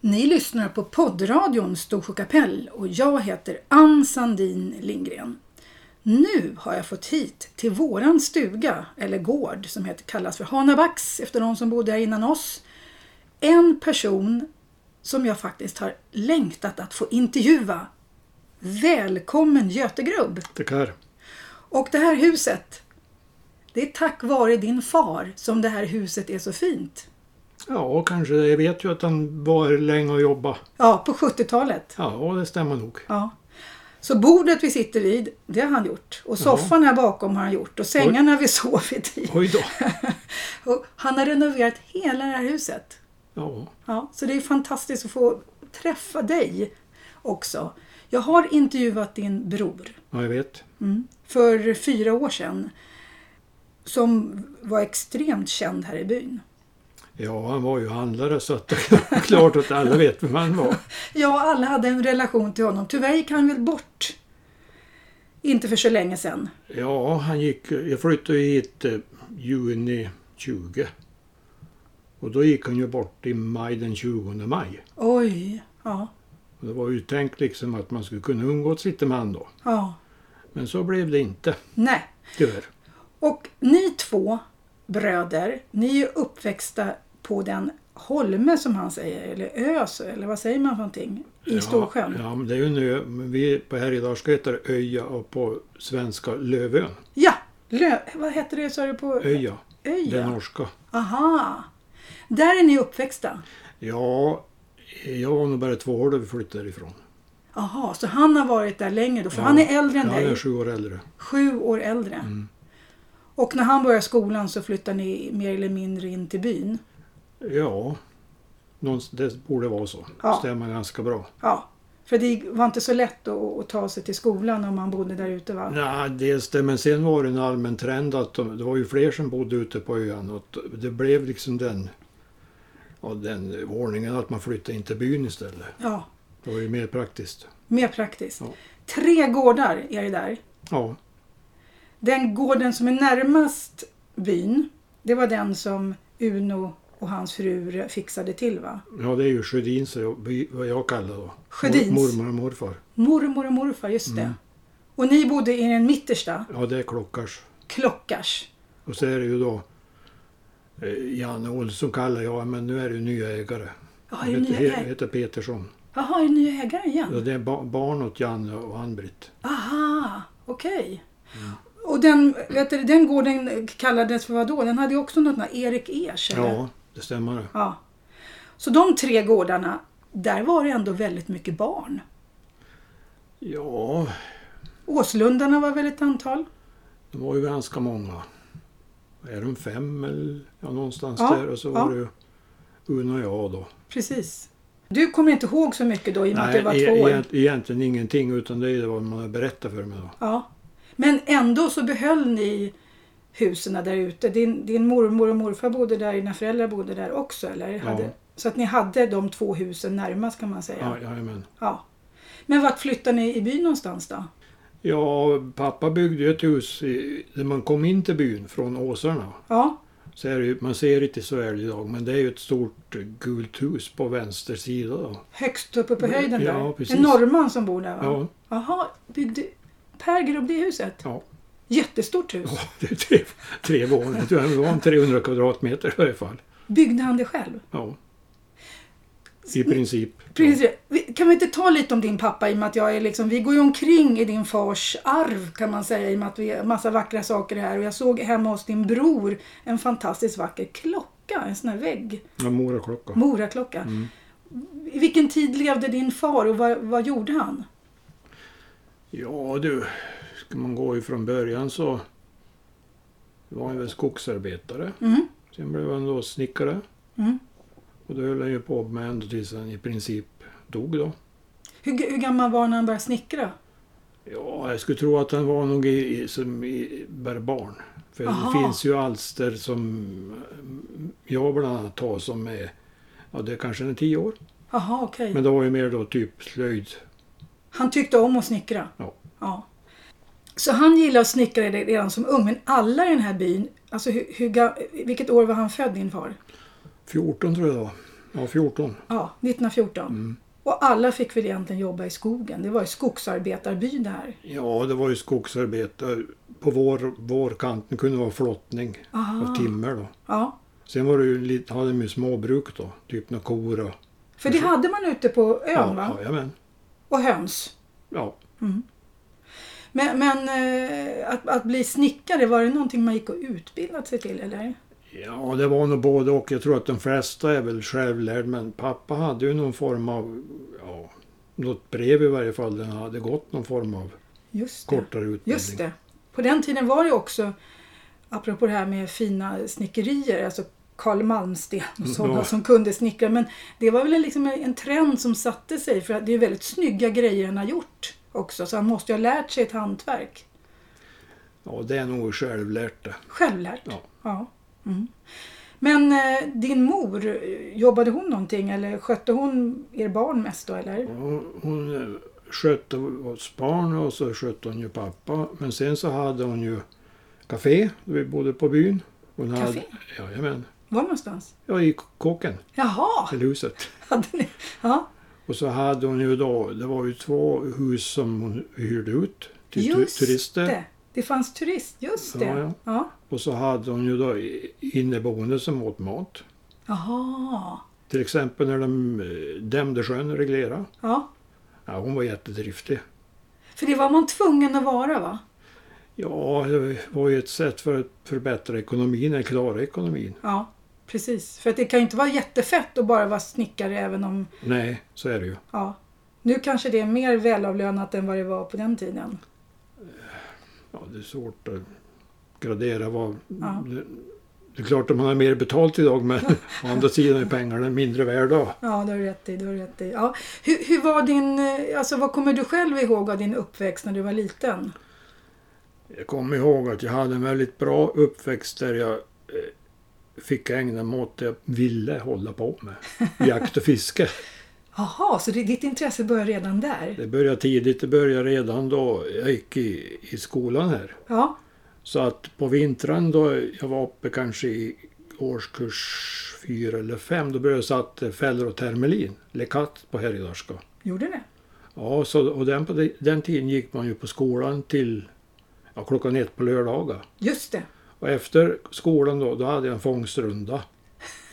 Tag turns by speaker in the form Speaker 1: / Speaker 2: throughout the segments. Speaker 1: Ni lyssnar på poddradion Storsjö kapell och jag heter Ann Sandin Lindgren. Nu har jag fått hit till våran stuga, eller gård, som heter, kallas för Hanabacks efter de som bodde här innan oss, en person som jag faktiskt har längtat att få intervjua. Välkommen Göte Grubb!
Speaker 2: Tackar.
Speaker 1: Och det här huset, det är tack vare din far som det här huset är så fint.
Speaker 2: Ja, kanske det. Jag vet ju att han var här länge och jobbade.
Speaker 1: Ja, på 70-talet.
Speaker 2: Ja, det stämmer nog.
Speaker 1: Ja. Så bordet vi sitter vid, det har han gjort. Och soffan här bakom har han gjort. Och sängarna vi sovit i.
Speaker 2: Oj då.
Speaker 1: Och han har renoverat hela det här huset.
Speaker 2: Ja,
Speaker 1: Ja, så det är fantastiskt att få träffa dig också. Jag har intervjuat din bror mm,
Speaker 2: ja jag vet.
Speaker 1: för fyra år sedan. Som var extremt känd här i byn.
Speaker 2: Ja, han var ju handlare så att det är klart att alla vet vem han var.
Speaker 1: Ja, alla hade en relation till honom. Tyvärr gick han väl bort. Inte för så länge sedan.
Speaker 2: Ja, han gick... Jag flyttade hit eh, juni 20. Och då gick han ju bort i maj, den 20 maj.
Speaker 1: Oj, ja.
Speaker 2: Och det var ju tänkt liksom att man skulle kunna umgås lite med han då.
Speaker 1: ja.
Speaker 2: Men så blev det inte,
Speaker 1: Nej.
Speaker 2: tyvärr.
Speaker 1: Och ni två bröder, ni är uppväxta på den holme som han säger, eller ös, eller vad säger man för någonting? I Storsjön.
Speaker 2: Ja,
Speaker 1: Ja.
Speaker 2: ja, men det är ju nu, men vi på härjedalska heter det Öja och på svenska Lövön.
Speaker 1: Lö, vad heter det sa du på?
Speaker 2: Öja, det
Speaker 1: Öja.
Speaker 2: norska.
Speaker 1: Aha. Där är ni uppväxta?
Speaker 2: Ja, jag var nog bara två år då vi flyttade därifrån.
Speaker 1: Aha, så han har varit där längre då, för
Speaker 2: Ja.
Speaker 1: han är äldre än
Speaker 2: Ja, jag är Mm.
Speaker 1: dig.
Speaker 2: sju år äldre.
Speaker 1: Sju år äldre. Och när han börjar skolan så flyttar ni mer eller mindre in till byn.
Speaker 2: Ja, någonst- det borde vara så.
Speaker 1: Ja.
Speaker 2: Stämmer ganska bra.
Speaker 1: Ja, för det var inte så lätt att, att ta sig till skolan om man bodde där ute va?
Speaker 2: Nej, dels det, men sen var det en allmän trend att de, det var ju fler som bodde ute på ön. Och att det blev liksom den, ja, den ordningen att man flyttade in till byn istället.
Speaker 1: Ja,
Speaker 2: Det var ju mer praktiskt.
Speaker 1: mer praktiskt.
Speaker 2: Ja.
Speaker 1: Tre gårdar är det där.
Speaker 2: Ja,
Speaker 1: Den gården som är närmast byn, det var den som Uno och hans fru fixade till va?
Speaker 2: ja det är ju Sjödins, jag- by- vad jag kallar då.
Speaker 1: Sjödins?
Speaker 2: Mor, mormor och morfar.
Speaker 1: Mormor och morfar, just det.
Speaker 2: Mm.
Speaker 1: Och ni bodde i den mittersta,
Speaker 2: Ja, det är Klockars.
Speaker 1: Klockars.
Speaker 2: Och så är det ju då eh, Janne Olsson kallar jag men nu är det ju nya ägare.
Speaker 1: Jaha,
Speaker 2: Han
Speaker 1: är det
Speaker 2: heter,
Speaker 1: nya
Speaker 2: he-
Speaker 1: ägare?
Speaker 2: heter Petersson.
Speaker 1: Jaha, är det nya ägare
Speaker 2: Så
Speaker 1: igen?
Speaker 2: det är ba barn åt Janne och Ann-Britt.
Speaker 1: Aha, okej.
Speaker 2: Mm.
Speaker 1: Och den, vet du, den gården kallades för vad då? Den hade ju också något namn, Erik Ers eller?
Speaker 2: Ja, det stämmer. det.
Speaker 1: ja. Så de tre gårdarna, där var det ändå väldigt mycket barn.
Speaker 2: Ja,
Speaker 1: Åslundarna var väl ett antal?
Speaker 2: det var ju ganska många. Är de fem eller ja, någonstans
Speaker 1: Ja,
Speaker 2: där? Och så
Speaker 1: ja.
Speaker 2: var det ju Uno och jag då.
Speaker 1: Precis. Du kommer inte ihåg så mycket då i och med att du var
Speaker 2: e-
Speaker 1: två år?
Speaker 2: egent- egentligen ingenting utan det är vad man har berättat för mig då.
Speaker 1: Ja. Men ändå så behöll ni husen där ute. Din, din mormor och morfar bodde där, dina föräldrar bodde där också eller? Hade, så att ni hade de två husen närmast kan man säga.
Speaker 2: Ja, jajamän.
Speaker 1: Ja. Men vart flyttade ni i byn någonstans då?
Speaker 2: ja, pappa byggde ju ett hus i, där man kom in till byn från Åsarna.
Speaker 1: Ja,
Speaker 2: Så är det ju, man ser inte så väl idag, men det är ju ett stort gult hus på vänster sida. Då.
Speaker 1: högst uppe på höjden
Speaker 2: Ja,
Speaker 1: där.
Speaker 2: precis.
Speaker 1: En norrman som bor där va?
Speaker 2: Ja,
Speaker 1: Jaha, byggde Per Grubb det huset?
Speaker 2: ja.
Speaker 1: Jättestort hus.
Speaker 2: ja det är tre, tre våningar. tror jag. Det var en 300 kvadratmeter i varje fall.
Speaker 1: Byggde han det själv?
Speaker 2: Ja. I princip.
Speaker 1: Prins, vi- kan vi inte ta lite om din pappa i och med att jag är liksom, vi går ju omkring i din fars arv kan man säga i och med att vi har massa vackra saker här och jag såg hemma hos din bror en fantastiskt vacker klocka, en sån här vägg,
Speaker 2: Ja, Moraklocka.
Speaker 1: Moraklocka. I vilken tid levde din far och vad, vad gjorde han?
Speaker 2: Ja du, ska man gå ifrån början så var han väl skogsarbetare.
Speaker 1: Mm.
Speaker 2: Sen blev han då snickare.
Speaker 1: Mm.
Speaker 2: Och då höll han ju på med ända tills han i princip dog då.
Speaker 1: Hur, g- hur gammal var han när han började snickra?
Speaker 2: Ja, jag skulle tro att han var nog i, i, som i, bara barn. För
Speaker 1: Aha.
Speaker 2: det finns ju alster som mm, jag bland annat har som är, ja det är kanske en tio år.
Speaker 1: Jaha, okej.
Speaker 2: Men det var ju mer då typ slöjd.
Speaker 1: Han tyckte om att snickra?
Speaker 2: Ja.
Speaker 1: Så han gillade att snickra redan som ung, men alla i den här byn, alltså hur, hur, ga- vilket år var han född din far?
Speaker 2: 14 tror jag det var. Ja, 14.
Speaker 1: Ja, 1914.
Speaker 2: Mm.
Speaker 1: Och alla fick väl egentligen jobba i skogen. Det var ju skogsarbetarby det här.
Speaker 2: Ja, det var ju skogsarbete. På vår, vårkanten kunde det vara flottning av
Speaker 1: Aha.
Speaker 2: timmer då.
Speaker 1: Ja,
Speaker 2: Sen var det ju, lite- hade de ju småbruk då, typ några kor och...
Speaker 1: för det hade man ute på ön va?
Speaker 2: ja, jajamän.
Speaker 1: Och höns.
Speaker 2: Ja,
Speaker 1: Men, men eh, att, att bli snickare, var det någonting man gick och utbildade sig till eller?
Speaker 2: Ja, det var nog både och. Jag tror att de flesta är väl självlärd, men pappa hade ju någon form av, ja, något brev i varje fall, den hade gått någon form av
Speaker 1: Just det.
Speaker 2: kortare utbildning.
Speaker 1: Just det. På den tiden var det också, apropå det här med fina snickerier, alltså Karl Malmsten och sådana
Speaker 2: Ja.
Speaker 1: som kunde snickra. Men det var väl liksom en trend som satte sig för att det är väldigt snygga grejer han har gjort också. Så han måste ju ha lärt sig ett hantverk.
Speaker 2: Ja, det är nog självlärt det.
Speaker 1: Självlärt.
Speaker 2: Ja.
Speaker 1: Mm. Men eh, din mor, eh, jobbade hon någonting eller skötte hon er barn mest då eller?
Speaker 2: Ja, hon eh, skötte oss barn och så skötte hon ju pappa. Men sen så hade hon ju café, där vi bodde på byn. Hon
Speaker 1: Café?
Speaker 2: Hade, jajamän.
Speaker 1: Var någonstans?
Speaker 2: Ja, i kåken,
Speaker 1: Jaha!
Speaker 2: till huset.
Speaker 1: Hade ni? Ja,
Speaker 2: Och så hade hon ju då, det var ju två hus som hon hyrde ut till tu-
Speaker 1: just
Speaker 2: turister.
Speaker 1: det. Det fanns turist, just
Speaker 2: Ja,
Speaker 1: det.
Speaker 2: ja.
Speaker 1: Ja.
Speaker 2: Och så hade hon ju då inneboende som åt mat.
Speaker 1: Jaha.
Speaker 2: Till exempel när de eh, dämde sjön och reglerade.
Speaker 1: Ja.
Speaker 2: Ja, hon var jättedriftig.
Speaker 1: För det var man tvungen att vara va?
Speaker 2: Ja, det var ju ett sätt för att förbättra ekonomin, eller klara ekonomin.
Speaker 1: Ja, precis. För att det kan ju inte vara jättefett att bara vara snickare även om,
Speaker 2: Nej, så är det ju.
Speaker 1: ja. Nu kanske det är mer välavlönat än vad det var på den tiden.
Speaker 2: Ja, det är svårt att gradera vad...
Speaker 1: Ja.
Speaker 2: Det, det är klart att man har mer betalt idag men å andra sidan är pengarna mindre värda.
Speaker 1: Ja, det har du rätt i. Det har du rätt i. Ja. Hur, hur var din, eh, alltså vad kommer du själv ihåg av din uppväxt när du var liten?
Speaker 2: Jag kommer ihåg att jag hade en väldigt bra uppväxt där jag eh, fick ägna mig åt det jag ville hålla på med. Jakt och fiske.
Speaker 1: Jaha, så det, ditt intresse började redan där?
Speaker 2: Det började tidigt, det började redan då jag gick i, i skolan här.
Speaker 1: Ja,
Speaker 2: Så att på vintern då jag var uppe kanske i årskurs fyra eller fem, då började jag sätta fällor och termelin, eller katt på härjedalska.
Speaker 1: gjorde det?
Speaker 2: Ja, så, och den, på de- den tiden gick man ju på skolan till ja, klockan ett på lördagar.
Speaker 1: Just det.
Speaker 2: Och efter skolan då, då hade jag en fångstrunda.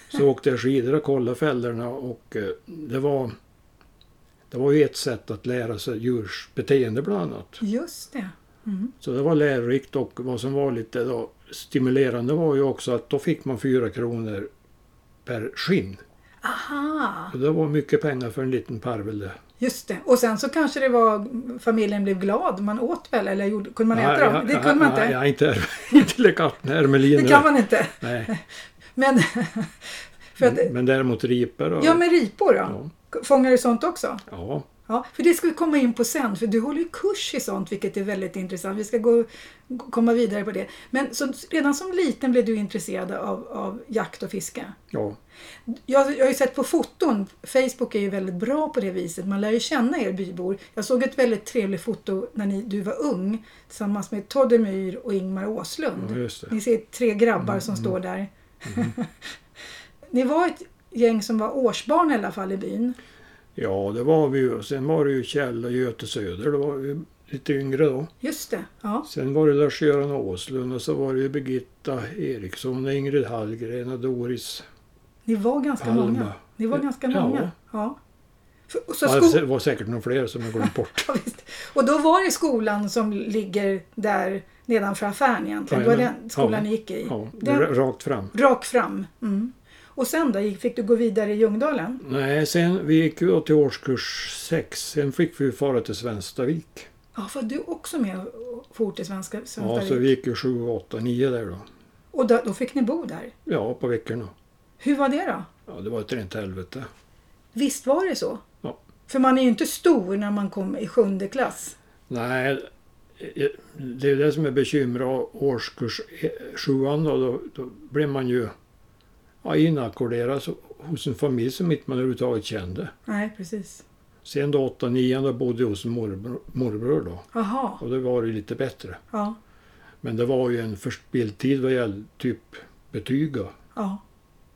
Speaker 2: Så åkte jag skidor och kollade fällorna och eh, det var, det var ju ett sätt att lära sig djurs beteende bland annat.
Speaker 1: Just det.
Speaker 2: Så det var lärorikt och vad som var lite då stimulerande var ju också att då fick man fyra kronor per skinn.
Speaker 1: Aha,
Speaker 2: Och det var mycket pengar för en liten parvel det.
Speaker 1: just det. Och sen så kanske det var familjen blev glad. Man åt väl eller gjorde, kunde man
Speaker 2: Nej,
Speaker 1: äta dem?
Speaker 2: jag-
Speaker 1: Det kunde man
Speaker 2: jag-
Speaker 1: inte.
Speaker 2: Jag, inte, inte lika katten Hermelin.
Speaker 1: Det kan man inte.
Speaker 2: Nej,
Speaker 1: Men, för att,
Speaker 2: men däremot ripor och...
Speaker 1: ja men ripor då? Fångar du sånt också?
Speaker 2: ja.
Speaker 1: Ja, för det ska vi komma in på sen, för du håller ju kurs i sånt vilket är väldigt intressant. Vi ska gå, komma vidare på det. Men så, redan som liten blev du intresserad av, av jakt och fiske.
Speaker 2: ja.
Speaker 1: Jag, jag har ju sett på foton, Facebook är ju väldigt bra på det viset, man lär ju känna er bybor. Jag såg ett väldigt trevligt foto när ni, du var ung tillsammans med Todde Myhr och Ingmar Åslund.
Speaker 2: Ja, just det. Mm,
Speaker 1: Ni ser tre grabbar som står där. Ni var ett gäng som var årsbarn i alla fall i byn.
Speaker 2: Ja, det var vi ju. Och Sen var det ju Kjell och Göte Söder, då var vi lite yngre då.
Speaker 1: Just det, ja.
Speaker 2: Sen var det Lars-Göran Åslund och så var det ju Birgitta Eriksson, och Ingrid Hallgren och Doris.
Speaker 1: Ni var ganska
Speaker 2: Palma.
Speaker 1: många. Ni var ganska
Speaker 2: Ja.
Speaker 1: många. Ja. För- och Så
Speaker 2: Ja, alltså-
Speaker 1: sko-
Speaker 2: det var säkert några fler som jag glömt bort.
Speaker 1: ja, visst. och då var det skolan som ligger där nedanför affären egentligen. Det var
Speaker 2: Jajamän.
Speaker 1: den skolan
Speaker 2: Ja.
Speaker 1: ni gick i.
Speaker 2: Ja,
Speaker 1: Den,
Speaker 2: ra- rakt fram.
Speaker 1: rak fram. Mm. Och sen då, gick- fick du gå vidare i Ljungdalen?
Speaker 2: Nej, sen vi gick ju då till årskurs sex. Sen fick vi ju fara till Svenstavik.
Speaker 1: Ja, var du också med fort i Svenska
Speaker 2: Ja,
Speaker 1: Svenska
Speaker 2: så vi gick ju sju, åtta, nio där då.
Speaker 1: Och då, då fick ni bo där.
Speaker 2: Ja, på veckorna.
Speaker 1: Hur var det då?
Speaker 2: Ja, det var ett rent helvete.
Speaker 1: Visst var det så?
Speaker 2: Ja.
Speaker 1: För man är ju inte stor när man kom i sjunde klass.
Speaker 2: Nej, eh, det är det som är bekymret. av Årskurs eh, sjuan då, då, då blev man ju ja, inackorderad så- hos en familj som inte man överhuvudtaget kände.
Speaker 1: Nej, precis.
Speaker 2: Sen då åtta, nian då bodde jag hos morbror, morbror då.
Speaker 1: Jaha,
Speaker 2: Och det var ju lite bättre.
Speaker 1: ja.
Speaker 2: Men det var ju en förspilltid vad gäller typ betyg och
Speaker 1: ja.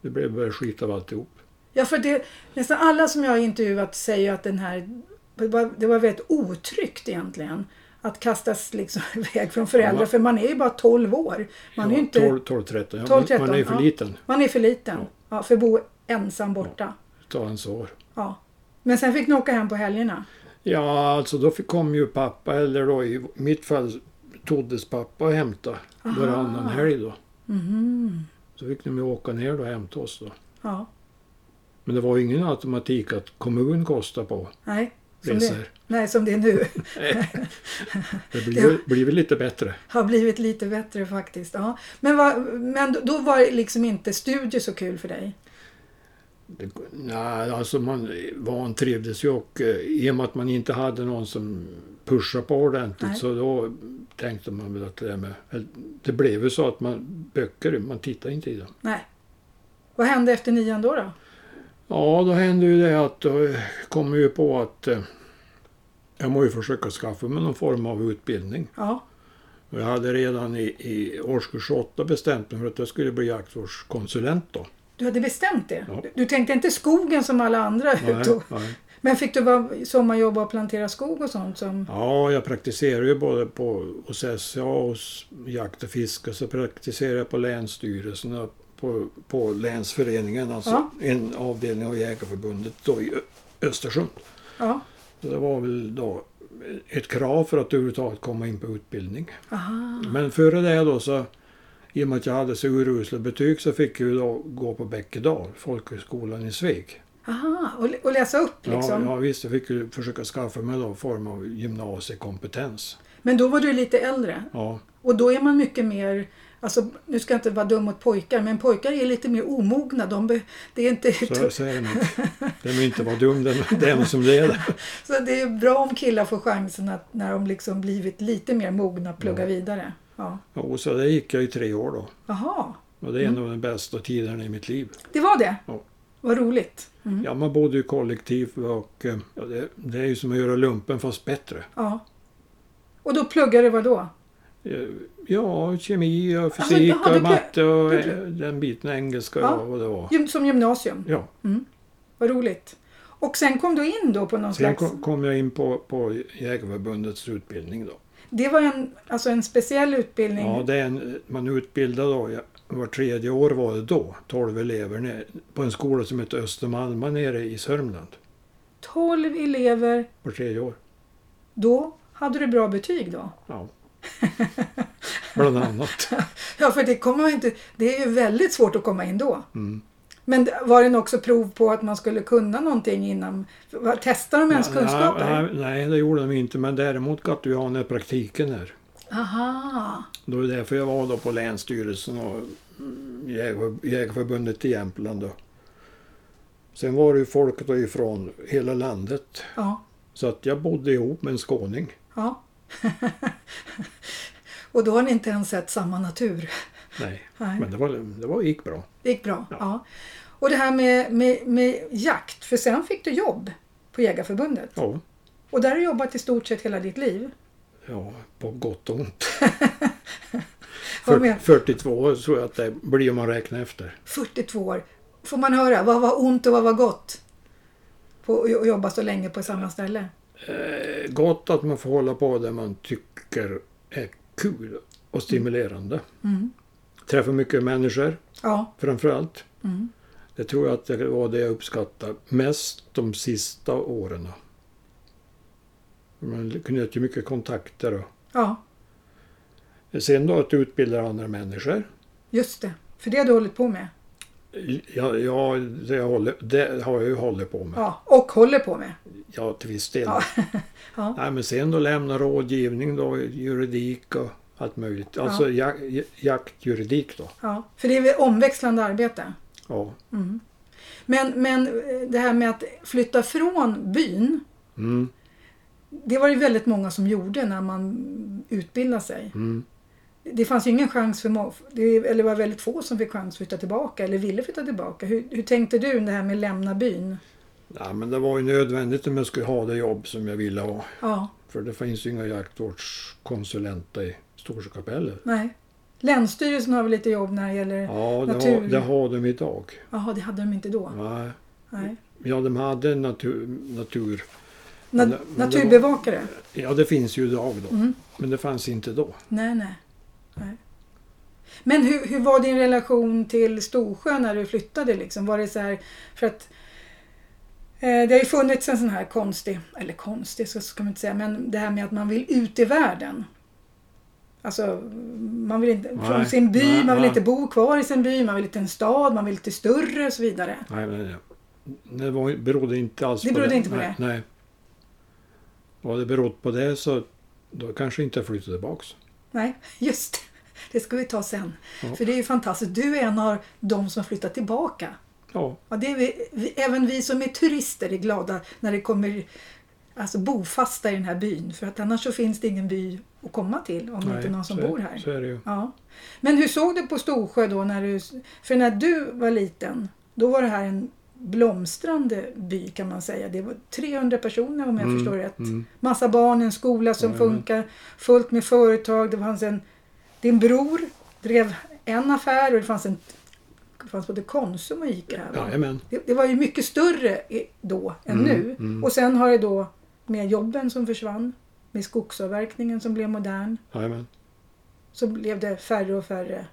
Speaker 2: Det blev bara skit av alltihop.
Speaker 1: Ja, för det, nästan alla som jag har intervjuat säger att den här, det var, det var väldigt otryggt egentligen. Att kastas liksom iväg från föräldrar,
Speaker 2: Ja.
Speaker 1: för man är ju bara 12 år. Man är ju inte...
Speaker 2: 12, 12, 13. Ja,
Speaker 1: 12,
Speaker 2: man- man är ju
Speaker 1: 13,
Speaker 2: för
Speaker 1: ja.
Speaker 2: liten.
Speaker 1: Man är för liten ja. för att bo ensam borta.
Speaker 2: Ta ansvar.
Speaker 1: Ja. Men sen fick ni åka hem på helgerna.
Speaker 2: Ja, alltså då fick- kom ju pappa, eller då i mitt fall Toddes pappa och hämta varannan helg då. Så fick de ju åka ner då och hämta oss då.
Speaker 1: Mhm. Ja.
Speaker 2: Men det var ju ingen automatik att kommun kostade på
Speaker 1: Nej. Som det,
Speaker 2: resor.
Speaker 1: nej, som det är nu.
Speaker 2: Det blir, blir väl lite bättre.
Speaker 1: Har blivit lite bättre faktiskt. Ja. Men, vad- men då var liksom inte studier så kul för dig?
Speaker 2: Det, nej, alltså man van trivdes ju och eh, i och med att man inte hade någon som pushade på ordentligt
Speaker 1: Nej.
Speaker 2: så då tänkte man väl att det där med... eller, Det blev ju så att man böcker, man tittar inte i dem.
Speaker 1: Nej. Vad hände efter nian då? då?
Speaker 2: Ja, då hände ju det att då kom jag ju på att eh, jag må ju försöka skaffa mig någon form av utbildning.
Speaker 1: Ja.
Speaker 2: Och Jag hade redan i, i årskurs 8 bestämt mig för att jag skulle bli jaktvårdskonsulent då.
Speaker 1: Du hade bestämt det?
Speaker 2: Ja.
Speaker 1: Du- Du tänkte inte skogen som alla andra ut och-
Speaker 2: nej.
Speaker 1: Men fick du vara sommarjobba och plantera skog och sånt? Som...
Speaker 2: Ja, jag praktiserade ju både på hos SCA, hos jakt och fiske, så praktiserade jag på länsstyrelsen och på, på länsföreningen, alltså
Speaker 1: Ja.
Speaker 2: en avdelning av Jägarförbundet då i Ö- Östersund.
Speaker 1: Ja.
Speaker 2: Så det var väl då ett krav för att överhuvudtaget komma in på utbildning.
Speaker 1: Aha.
Speaker 2: Men före det då så, i och med att jag hade så urusla betyg så fick jag ju då gå på Bäckedal, folkhögskolan i Sveg.
Speaker 1: Aha. Och, och läsa upp liksom?
Speaker 2: Ja, ja visst, jag fick ju försöka skaffa mig någon form av gymnasiekompetens.
Speaker 1: Men då var du lite äldre?
Speaker 2: Ja,
Speaker 1: Och då är man mycket mer, alltså nu ska jag inte vara dum mot pojkar, men pojkar är lite mer omogna. De be, det är inte,
Speaker 2: så säger man. Den vill inte vara dum, den, den som leder.
Speaker 1: så det är bra om killar får chansen att när de liksom blivit lite mer mogna plugga vidare. Ja.
Speaker 2: Ja, Och så det gick jag i tre år då.
Speaker 1: Jaha,
Speaker 2: Och det är en av de bästa tiderna i mitt liv.
Speaker 1: det var det?
Speaker 2: Ja.
Speaker 1: Vad roligt.
Speaker 2: Ja, man bodde ju kollektivt och eh, ja, det, det är ju som att göra lumpen fast bättre.
Speaker 1: Ja. Och då pluggade du vad då?
Speaker 2: Eh, Ja, kemi och
Speaker 1: Alltså,
Speaker 2: fysik
Speaker 1: jaha, du
Speaker 2: och
Speaker 1: plö-
Speaker 2: matte och
Speaker 1: du
Speaker 2: eh, den biten engelska
Speaker 1: Ja.
Speaker 2: och vad det var.
Speaker 1: Gym, som gymnasium?
Speaker 2: Ja,
Speaker 1: Vad roligt. Och sen kom du in då på någon
Speaker 2: sen
Speaker 1: slags...
Speaker 2: kom, kom jag in på, på Jägarförbundets utbildning då.
Speaker 1: Det var en, alltså en speciell utbildning?
Speaker 2: Ja, det är en, man utbildade då, ja, var tredje år var det då, 12 elever ner, på en skola som heter Östermalma nere i Sörmland.
Speaker 1: 12 elever,
Speaker 2: Var tredje år.
Speaker 1: då hade du bra betyg då?
Speaker 2: Ja. Bland annat.
Speaker 1: Ja, för det, kommer man inte, det är ju väldigt svårt att komma in då.
Speaker 2: Mm.
Speaker 1: Men var det också prov på att man skulle kunna någonting innan? Testar de ens kunskaper?
Speaker 2: Nej, nej, det gjorde de inte, men däremot gav du ju ha den här praktiken här.
Speaker 1: Aha,
Speaker 2: Det var därför jag var då på Länsstyrelsen och mm, Jägar- Jägarförbundet i Jämtland. Då. Sen var det ju folk då ifrån hela landet.
Speaker 1: ja.
Speaker 2: Så att jag bodde ihop med en skåning.
Speaker 1: ja. Och då har ni inte ens sett samma natur.
Speaker 2: Nej,
Speaker 1: Nej.
Speaker 2: men det, var, det var, gick bra.
Speaker 1: Det gick bra. Ja. Och det här med, med, med jakt, för sen fick du jobb på Jägarförbundet.
Speaker 2: Ja,
Speaker 1: Och där har du jobbat i stort sett hela ditt liv.
Speaker 2: ja på gott och ont.
Speaker 1: Vad men-
Speaker 2: 42 år tror jag att det blir om man räknar efter.
Speaker 1: 42 år. Får man höra, vad var ont och vad var gott? På att jobba så länge på samma ställe.
Speaker 2: Eh, gott att man får hålla på där man tycker är kul och stimulerande.
Speaker 1: Mm.
Speaker 2: Träffa mycket människor.
Speaker 1: Ja,
Speaker 2: framförallt.
Speaker 1: Mm.
Speaker 2: Det tror jag att det var det jag uppskattade mest de sista åren. Man knöt ju mycket kontakter.
Speaker 1: ja,
Speaker 2: Och sen då att utbilda andra människor.
Speaker 1: just det. För det har du hållit på med.
Speaker 2: Ja, ja det, jag håller, det har jag ju hållit på med.
Speaker 1: Ja, och håller på med.
Speaker 2: Ja, till viss del.
Speaker 1: Ja. Ja.
Speaker 2: Nej, men sen då lämna rådgivning då, juridik och allt möjligt. Alltså ja. jaktjuridik då.
Speaker 1: Ja, för det är väl omväxlande arbete.
Speaker 2: Ja.
Speaker 1: Men, men eh, det här med att flytta från byn,
Speaker 2: Mm.
Speaker 1: det var det väldigt många som gjorde när man utbildade sig.
Speaker 2: Mm.
Speaker 1: Det fanns ju ingen chans för må- det, eller det var väldigt få som fick chans att flytta tillbaka eller ville flytta tillbaka. Hur, hur tänkte du det här med lämna byn?
Speaker 2: Nej, men det var ju nödvändigt om jag skulle ha det jobb som jag ville ha.
Speaker 1: Ja,
Speaker 2: För det finns ju inga jaktvårdskonsulenter i Storsjökapellet.
Speaker 1: nej. Länsstyrelsen har väl lite jobb när det gäller...
Speaker 2: Ja, det
Speaker 1: Natur.
Speaker 2: har, det har de idag.
Speaker 1: Jaha, det hade de inte då.
Speaker 2: Nej.
Speaker 1: Nej.
Speaker 2: Ja, de hade en natur, natur.
Speaker 1: Na,
Speaker 2: Men det- men det var-
Speaker 1: naturbevakare?
Speaker 2: Ja, det finns ju idag då.
Speaker 1: Mm.
Speaker 2: Men det fanns inte då.
Speaker 1: Nej, nej. nej. Men hur, hur var din relation till Storsjö när du flyttade? Liksom? Var det så här, för att eh, det har ju funnits en sån här konstig, eller konstig så ska man inte säga, men det här med att man vill ut i världen. Alltså, man vill inte,
Speaker 2: Nej,
Speaker 1: från sin by,
Speaker 2: nej,
Speaker 1: man vill
Speaker 2: nej.
Speaker 1: inte bo kvar i sin by, man vill till en stad, man vill till större och så vidare.
Speaker 2: Nej, nej, nej. Det var, berodde inte alls
Speaker 1: Det
Speaker 2: på
Speaker 1: berodde
Speaker 2: det.
Speaker 1: inte på
Speaker 2: nej,
Speaker 1: det.
Speaker 2: Nej. Vad det berott på det så då kanske inte jag flyttade tillbaks.
Speaker 1: Nej, just det. Det ska vi ta sen.
Speaker 2: Ja.
Speaker 1: För det är ju fantastiskt. Du är en av de som har flyttat tillbaka.
Speaker 2: Ja,
Speaker 1: Ja, det är vi, vi, även vi som är turister är glada när det kommer alltså, bofasta i den här byn. För att annars så finns det ingen by att komma till om det
Speaker 2: nej,
Speaker 1: inte är någon som
Speaker 2: så, är-
Speaker 1: bor här.
Speaker 2: Så är det ju.
Speaker 1: Ja. Men hur såg du på Storsjö då? När du, för när du var liten, då var det här en blomstrande by kan man säga. Det var 300 personer om jag
Speaker 2: Mm,
Speaker 1: förstår rätt.
Speaker 2: mm.
Speaker 1: Massa barn, en skola som
Speaker 2: Ja, ja.
Speaker 1: funkar, fullt med företag. Det fanns en, din bror drev en affär och det fanns, en, det fanns både Konsum och Ica här. va?
Speaker 2: Jajamän.
Speaker 1: Det, det var ju mycket större i- då än
Speaker 2: Mm,
Speaker 1: nu.
Speaker 2: mm.
Speaker 1: Och sen har det då med jobben som försvann, med skogsavverkningen som blev modern,
Speaker 2: Jajamän.
Speaker 1: så blev det färre och färre.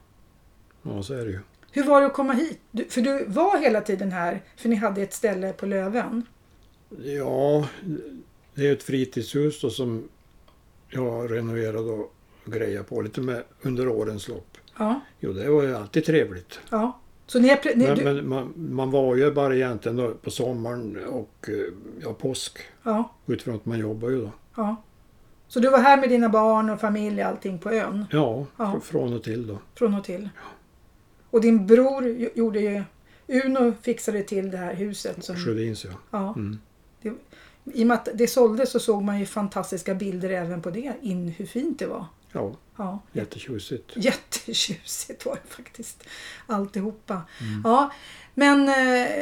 Speaker 2: Ja, så är det ju.
Speaker 1: Hur var det att komma hit? Du, för du var hela tiden här, för ni hade ett ställe på Löven.
Speaker 2: Ja, det är ett fritidshus då som jag har renoverat och grejat på lite med under årens lopp.
Speaker 1: Ja,
Speaker 2: Jo, det var ju alltid trevligt.
Speaker 1: ja. Så ni, är pre- ni
Speaker 2: men,
Speaker 1: du,
Speaker 2: men man, man var ju bara egentligen då på sommaren och eh, ja, påsk
Speaker 1: ja,
Speaker 2: utifrån att man jobbar ju då.
Speaker 1: ja. Så du var här med dina barn och familj och allting på ön,
Speaker 2: Ja,
Speaker 1: Ja.
Speaker 2: fr- från och till då.
Speaker 1: från och till. Och din bror ju- gjorde ju, Uno fixade till det här huset. Som,
Speaker 2: Sjödins ja.
Speaker 1: Ja.
Speaker 2: Mm.
Speaker 1: Det, I och med att det såldes så såg man ju fantastiska bilder även på det, in hur fint det var.
Speaker 2: Ja,
Speaker 1: Ja,
Speaker 2: jättetjusigt.
Speaker 1: jättetjusigt var det faktiskt, alltihopa. Ja, men eh,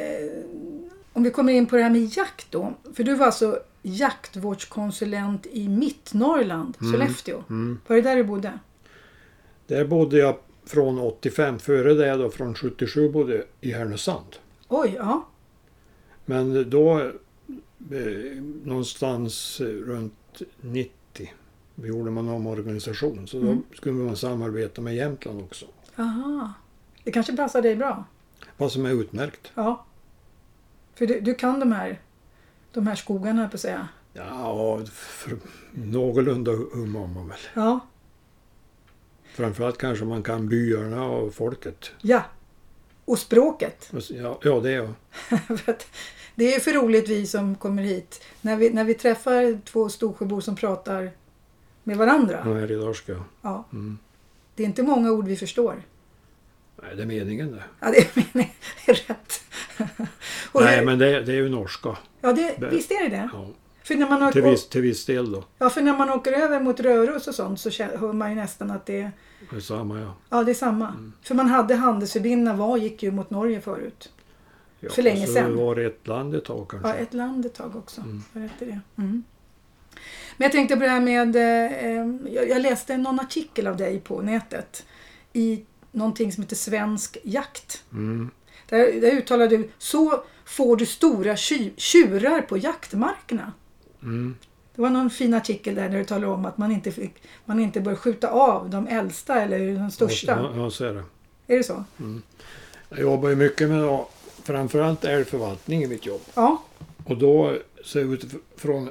Speaker 1: om vi kommer in på det här med jakt då. För du var alltså jaktvårdskonsulent i Mittnorrland, Sollefteå.
Speaker 2: Mm.
Speaker 1: Var det där du bodde?
Speaker 2: Där bodde jag från 85, före det då från 77 bodde jag i Härnösand.
Speaker 1: Oj, ja.
Speaker 2: Men då eh, någonstans eh, runt 90 då gjorde man omorganisation så då
Speaker 1: Mm.
Speaker 2: skulle man samarbeta med Jämtland också.
Speaker 1: Aha. Det kanske passar dig bra?
Speaker 2: Vad som är utmärkt.
Speaker 1: Ja. För du, du kan de här, de här skogarna, på att säga.
Speaker 2: Ja, för, någorlunda hum om man väl.
Speaker 1: Ja.
Speaker 2: Framförallt kanske man kan byarna och folket.
Speaker 1: Ja. Och språket.
Speaker 2: Och så- Ja, ja det är jag.
Speaker 1: För att det är för roligt vi som kommer hit. När vi, när vi träffar två Storsjöbor som pratar med varandra.
Speaker 2: Jag är riddarska.
Speaker 1: Ja.
Speaker 2: Mm.
Speaker 1: Det är inte många ord vi förstår.
Speaker 2: Nej, det är meningen det.
Speaker 1: Ja, det är, meningen. det är rätt. Och
Speaker 2: Nej,
Speaker 1: det-
Speaker 2: men det, det är ju norska.
Speaker 1: ja, det, visst är det det?
Speaker 2: Ja,
Speaker 1: För när, man
Speaker 2: till,
Speaker 1: åker,
Speaker 2: viss, till viss del då.
Speaker 1: ja, för när man åker över mot Röros och sånt så kä- hör man ju nästan att det är,
Speaker 2: Det är samma ja.
Speaker 1: ja, det är samma.
Speaker 2: Mm.
Speaker 1: För man hade handelsförbindelser, var gick ju mot Norge förut.
Speaker 2: ja.
Speaker 1: För länge
Speaker 2: så
Speaker 1: sedan.
Speaker 2: Det var ett land ett tag kanske.
Speaker 1: Ja, ett land ett tag också. Jag rätt i det. Mm. Men jag tänkte på det här med... eh, eh, Jag jag läste någon artikel av dig på nätet i någonting som heter Svensk jakt.
Speaker 2: Mm.
Speaker 1: Där, där uttalade du så får du stora tju- tjurar på jaktmarkerna.
Speaker 2: Mm.
Speaker 1: Det var någon fin artikel där, där du talade om att man inte, fick, man inte bör skjuta av de äldsta eller de största.
Speaker 2: Ja, ja, så är det.
Speaker 1: Är det så?
Speaker 2: Jag jobbar ju mycket med ja, framförallt älgförvaltning i mitt jobb.
Speaker 1: Ja.
Speaker 2: Och då så utifrån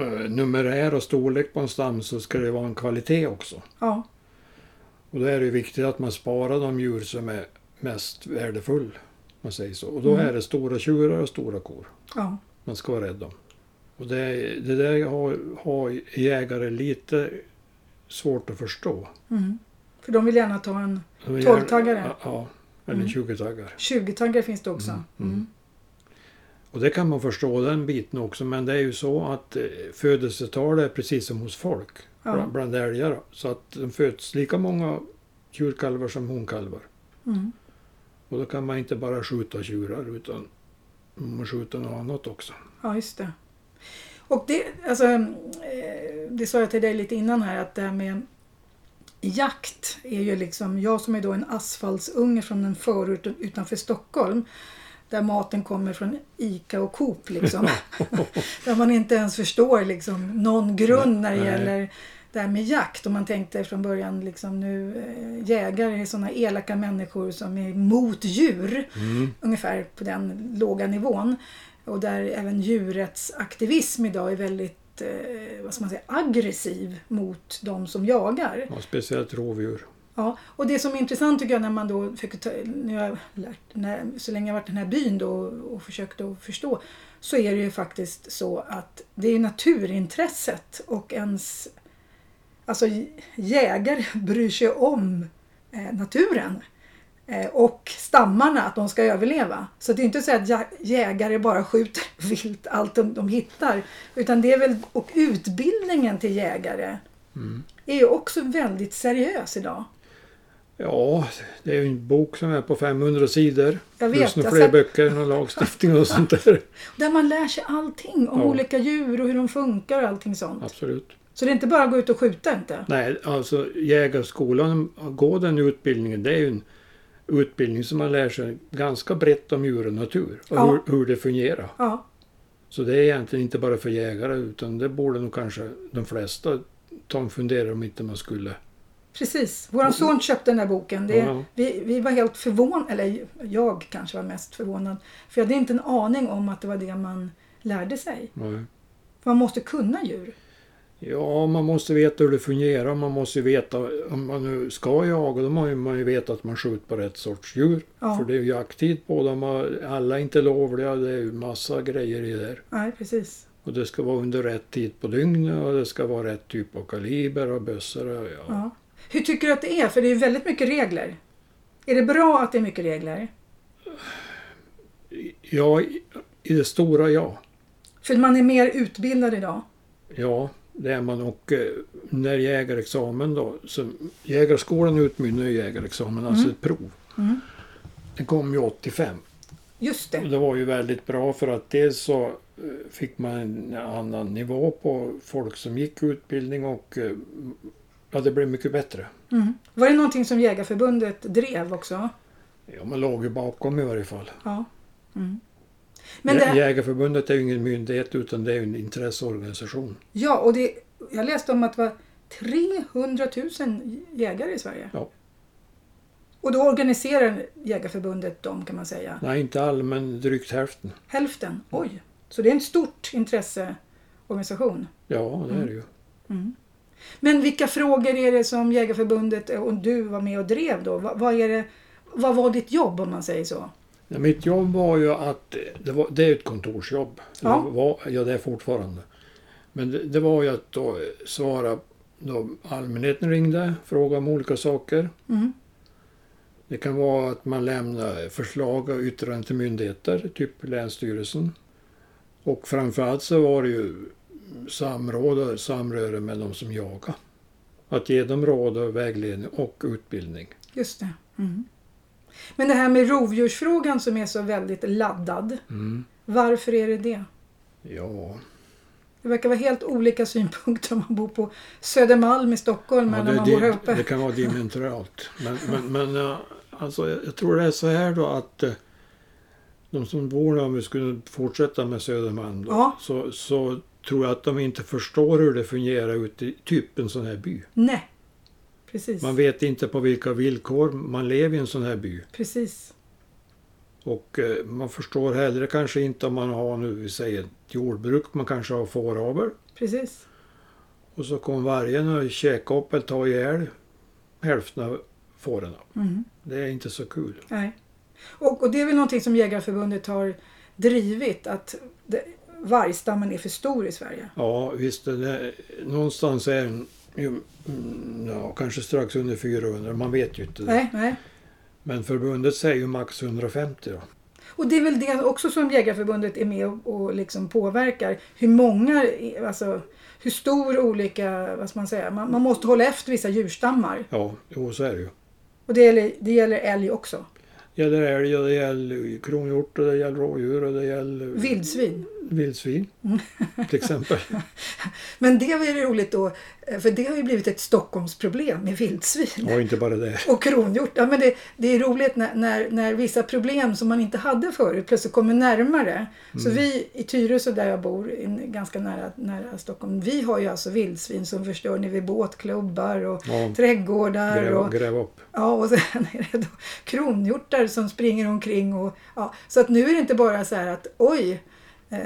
Speaker 2: eh, numerär och storlek på en stam så ska det vara en kvalitet också.
Speaker 1: ja.
Speaker 2: Och då är det ju viktigt att man sparar de djur som är mest värdefull. om Man säger så. Och
Speaker 1: Mm.
Speaker 2: då är det stora tjurar och stora kor
Speaker 1: ja.
Speaker 2: man ska vara rädd om. Och det, det där har, har jägare lite svårt att förstå.
Speaker 1: Mm. För de vill gärna ta en
Speaker 2: De är
Speaker 1: 12-taggare.
Speaker 2: gärna- Ja, eller
Speaker 1: Mm.
Speaker 2: 20-taggare.
Speaker 1: 20-taggare finns det också.
Speaker 2: mm.
Speaker 1: Mm.
Speaker 2: Och det kan man förstå den biten också men det är ju så att eh, födelsetal är precis som hos folk
Speaker 1: Ja.
Speaker 2: bland, bland älgar. Så att de föds lika många tjurkalvar som honkalvar.
Speaker 1: Mm.
Speaker 2: Och då kan man inte bara skjuta tjurar utan man måste skjuta något annat också.
Speaker 1: Ja, just det. Och det, alltså, eh, det sa jag till dig lite innan här att det här med jakt är ju liksom, jag som är då en asfaltsunge från en förort utanför Stockholm. där maten kommer från ICA och Coop. Liksom. där man inte ens förstår liksom, någon grund när det
Speaker 2: Nej.
Speaker 1: gäller det här med jakt. Och man tänkte från början liksom, nu eh, jägare är sådana elaka människor som är mot djur. Ungefär på den låga nivån. Och där även djurrättsaktivism idag är väldigt eh, vad ska man säga, aggressiv mot de som jagar.
Speaker 2: Ja, speciellt rovdjur.
Speaker 1: Ja, och det som är intressant tycker jag när man då fick ta, när jag har lärt, när, så länge jag har varit i den här byn då och försökt att förstå så är det ju faktiskt så att det är naturintresset och ens alltså j- jägare bryr sig om eh, naturen eh, och stammarna, att de ska överleva. Så det är inte så att ja- jägare bara skjuter vilt allt de, de hittar utan det är väl, och utbildningen till jägare är ju också väldigt seriös idag.
Speaker 2: Ja, det är ju en bok som är på 500 sidor.
Speaker 1: Jag vet,
Speaker 2: Plus några
Speaker 1: jag
Speaker 2: fler
Speaker 1: satt-
Speaker 2: böcker, och lagstiftning och sånt där.
Speaker 1: Där man lär sig allting om
Speaker 2: Ja.
Speaker 1: olika djur och hur de funkar och allting sånt.
Speaker 2: Absolut.
Speaker 1: Så det är inte bara att gå ut och skjuta inte.
Speaker 2: Nej, alltså jägarskolan, att gå den utbildningen, det är ju en utbildning som man lär sig ganska brett om djur och natur och
Speaker 1: Ja.
Speaker 2: hur, hur det fungerar.
Speaker 1: Ja,
Speaker 2: Så det är egentligen inte bara för jägare utan det borde nog kanske de flesta ta en funderare om inte man skulle.
Speaker 1: precis. Vår son köpte den där boken. Det,
Speaker 2: Mm. Ja.
Speaker 1: vi, vi var helt förvånade, eller jag kanske var mest förvånad. För jag hade inte en aning om att det var det man lärde sig.
Speaker 2: Nej.
Speaker 1: Man måste kunna djur.
Speaker 2: Ja, man måste veta hur det fungerar. Man måste ju veta, om man nu ska jaga, då måste man ju veta att man skjuter på rätt sorts djur.
Speaker 1: Ja.
Speaker 2: För det är ju jakttid på dem. och Alla är inte lovliga. Det är ju massa grejer i det där.
Speaker 1: Nej, precis.
Speaker 2: Och det ska vara under rätt tid på dygnet och det ska vara rätt typ av kaliber och bössor. Och, ja.
Speaker 1: Ja. Hur tycker du att det är? För det är ju väldigt mycket regler. Är det bra att det är mycket regler?
Speaker 2: ja, i- i det stora ja.
Speaker 1: För man är mer utbildad idag.
Speaker 2: Ja, det är man. Och eh, när jägarexamen då, så jägarskolan utmynnar i jägarexamen, alltså ett prov.
Speaker 1: Mm.
Speaker 2: Det kom ju 85.
Speaker 1: Just
Speaker 2: Och
Speaker 1: det.
Speaker 2: det var ju väldigt bra för att dels så eh, fick man en annan nivå på folk som gick utbildning och eh, ja, det blev mycket bättre.
Speaker 1: Mm. Var det någonting som Jägarförbundet drev också?
Speaker 2: Ja, man låg ju bakom i varje fall.
Speaker 1: Ja. Mm. Men
Speaker 2: Jä-
Speaker 1: det,
Speaker 2: Jägarförbundet är ju ingen myndighet utan det är ju en intresseorganisation.
Speaker 1: ja, och det, jag läste om att det var 300 000 jägare i Sverige.
Speaker 2: Ja.
Speaker 1: Och då organiserar Jägarförbundet dem kan man säga.
Speaker 2: Nej, inte all, men drygt hälften.
Speaker 1: Hälften. Oj! Så det är en stort intresseorganisation.
Speaker 2: Ja, det är det ju.
Speaker 1: Men vilka frågor är det som Jägarförbundet och du var med och drev då? Vad, vad, är det, vad var ditt jobb om man säger så?
Speaker 2: Ja, mitt jobb var ju att, det, var, det är ju ett kontorsjobb.
Speaker 1: Ja.
Speaker 2: Det var, ja, det är fortfarande. Men det, det var ju att då svara, då allmänheten ringde, fråga om olika saker.
Speaker 1: Mm.
Speaker 2: Det kan vara att man lämnar förslag och yttranden till myndigheter, typ Länsstyrelsen. Och framförallt så var det ju samråd och samröre med de som jagar. Att ge dem råd och vägledning och utbildning.
Speaker 1: Just det. Mm. Men det här med rovdjursfrågan som är så väldigt laddad.
Speaker 2: Mm.
Speaker 1: Varför är det det?
Speaker 2: Ja,
Speaker 1: Det verkar vara helt olika synpunkter om man bor på Södermalm i Stockholm
Speaker 2: ja
Speaker 1: eller om man bor här
Speaker 2: det,
Speaker 1: uppe.
Speaker 2: det, det kan vara dimensionalt. Men, men, men eh, alltså, jag jag tror det är så här då att eh, de som bor där, om vi skulle fortsätta med Södermalm då,
Speaker 1: Ja.
Speaker 2: så, så tror jag att de inte förstår hur det fungerar ute i typ en sån här by.
Speaker 1: Nej, precis.
Speaker 2: Man vet inte på vilka villkor man lever i en sån här by.
Speaker 1: precis.
Speaker 2: Och eh, man förstår hellre kanske inte om man har nu, vi säger ett jordbruk, man kanske har fåravel.
Speaker 1: precis.
Speaker 2: Och så kom vargen och käkade upp eller tog ihjäl hälften av fåren.
Speaker 1: Mm.
Speaker 2: Det är inte så kul.
Speaker 1: Nej. Och, och det är väl någonting som Jägareförbundet har drivit att det, vargstammen är för stor i Sverige.
Speaker 2: Ja, visst, den är, någonstans är den ju, mm, ja, kanske strax under 400, man vet ju inte det.
Speaker 1: Nej, nej.
Speaker 2: Men förbundet säger ju max 150 då.
Speaker 1: Och det är väl det också som Jägareförbundet är med och, och liksom påverkar. Hur många, är- alltså hur stor olika, vad ska man säga, man, man måste hålla efter vissa djurstammar.
Speaker 2: Ja, jo, så är det ju.
Speaker 1: Och det gäller, det gäller älg också.
Speaker 2: gäller älg och det gäller kronhjort och det gäller rådjur och det gäller
Speaker 1: Vildsvin.
Speaker 2: vildsvin till exempel.
Speaker 1: Men det var ju roligt då, eh, för det har ju blivit ett Stockholmsproblem med vildsvin.
Speaker 2: Och inte bara det.
Speaker 1: Och kronhjort. Ja, men det, det är roligt när, när, när vissa problem som man inte hade förut plötsligt kommer närmare.
Speaker 2: Mm.
Speaker 1: Så vi i Tyresö där jag bor, in, ganska nära, nära Stockholm, vi har ju alltså vildsvin som förstör nere vid båtklubbar och
Speaker 2: Ja,
Speaker 1: trädgårdar.
Speaker 2: gräv,
Speaker 1: Och,
Speaker 2: gräv upp.
Speaker 1: ja, och sen är det då kronhjortar som springer omkring. Och, ja, så att nu är det inte bara så här att oj, eh,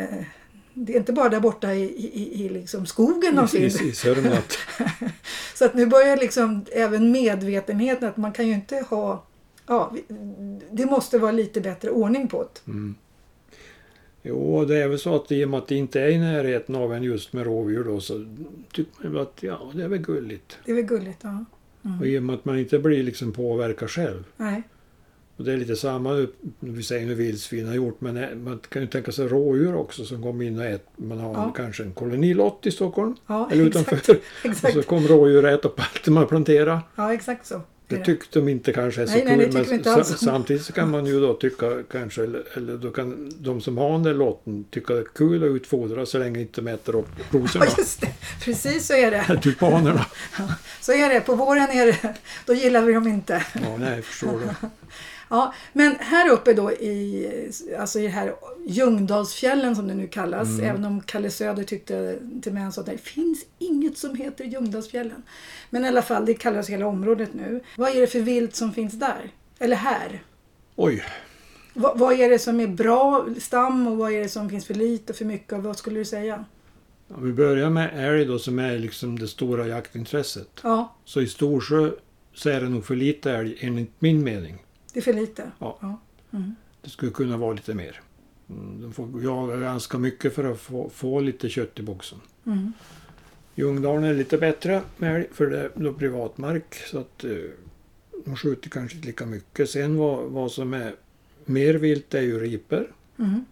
Speaker 1: det är inte bara där borta i, i, i- i liksom skogen de
Speaker 2: I, i,
Speaker 1: finns.
Speaker 2: i Sörmland.
Speaker 1: Så att nu börjar liksom även medvetenheten att man kan ju inte ha... Ja, vi- det måste vara lite bättre ordning på det.
Speaker 2: Mm. Jo, det är väl så att i och med att det inte är i närheten av en just med rådjur då så tycker man väl att ja, det är väl gulligt.
Speaker 1: Det är väl gulligt? Ja.
Speaker 2: Och i och med att man inte blir liksom påverkad själv.
Speaker 1: Nej.
Speaker 2: Och det är lite samma nu, vi säger nu vildsvin har gjort, men eh, man kan ju tänka sig rådjur också som kommer in och äter. Man har
Speaker 1: Ja.
Speaker 2: kanske en kolonilott i Stockholm
Speaker 1: Ja,
Speaker 2: eller
Speaker 1: exakt,
Speaker 2: utanför. Alltså.
Speaker 1: Exakt.
Speaker 2: Och så kom rådjur och äta upp allt man planterar.
Speaker 1: Ja, exakt så. är
Speaker 2: Det tyckte de inte kanske är så
Speaker 1: Nej, nej, det
Speaker 2: kul,
Speaker 1: tycker vi
Speaker 2: men
Speaker 1: inte
Speaker 2: sa-
Speaker 1: alls om.
Speaker 2: samtidigt så kan man ju då tycka kanske, eller, eller då kan de som har den där lotten tycka det är kul att utfodra så länge inte de äter upp rosorna, Typ
Speaker 1: Ja, just det. Precis så är det.
Speaker 2: tulpanerna.
Speaker 1: Så är det. På våren är det... Då gillar vi dem inte.
Speaker 2: Ja, nej, jag förstår du.
Speaker 1: Ja, men här uppe då i, alltså i det här Ljungdalsfjällen som det nu kallas, även om Kalle Söder tyckte till mig han sa att det finns inget som heter Ljungdalsfjällen. Men i alla fall, det kallas hela området nu. Vad är det för vilt som finns där? Eller här?
Speaker 2: Oj,
Speaker 1: Vad, vad är det som är bra stam och vad är det som finns för lite och för mycket? Och vad skulle du säga?
Speaker 2: om vi börjar med älg då som är liksom det stora jaktintresset.
Speaker 1: Ja,
Speaker 2: Så i Storsjö så är det nog för lite älg enligt min mening.
Speaker 1: det är för lite.
Speaker 2: Det skulle kunna vara lite mer. Mm, De får jaga ganska mycket för att få, få lite kött i boxen.
Speaker 1: Mm.
Speaker 2: Ljungdalen är lite bättre med älg, för det är då privatmark så att eh, de skjuter kanske inte lika mycket. Sen vad, vad som är mer vilt är ju riper.
Speaker 1: Mm.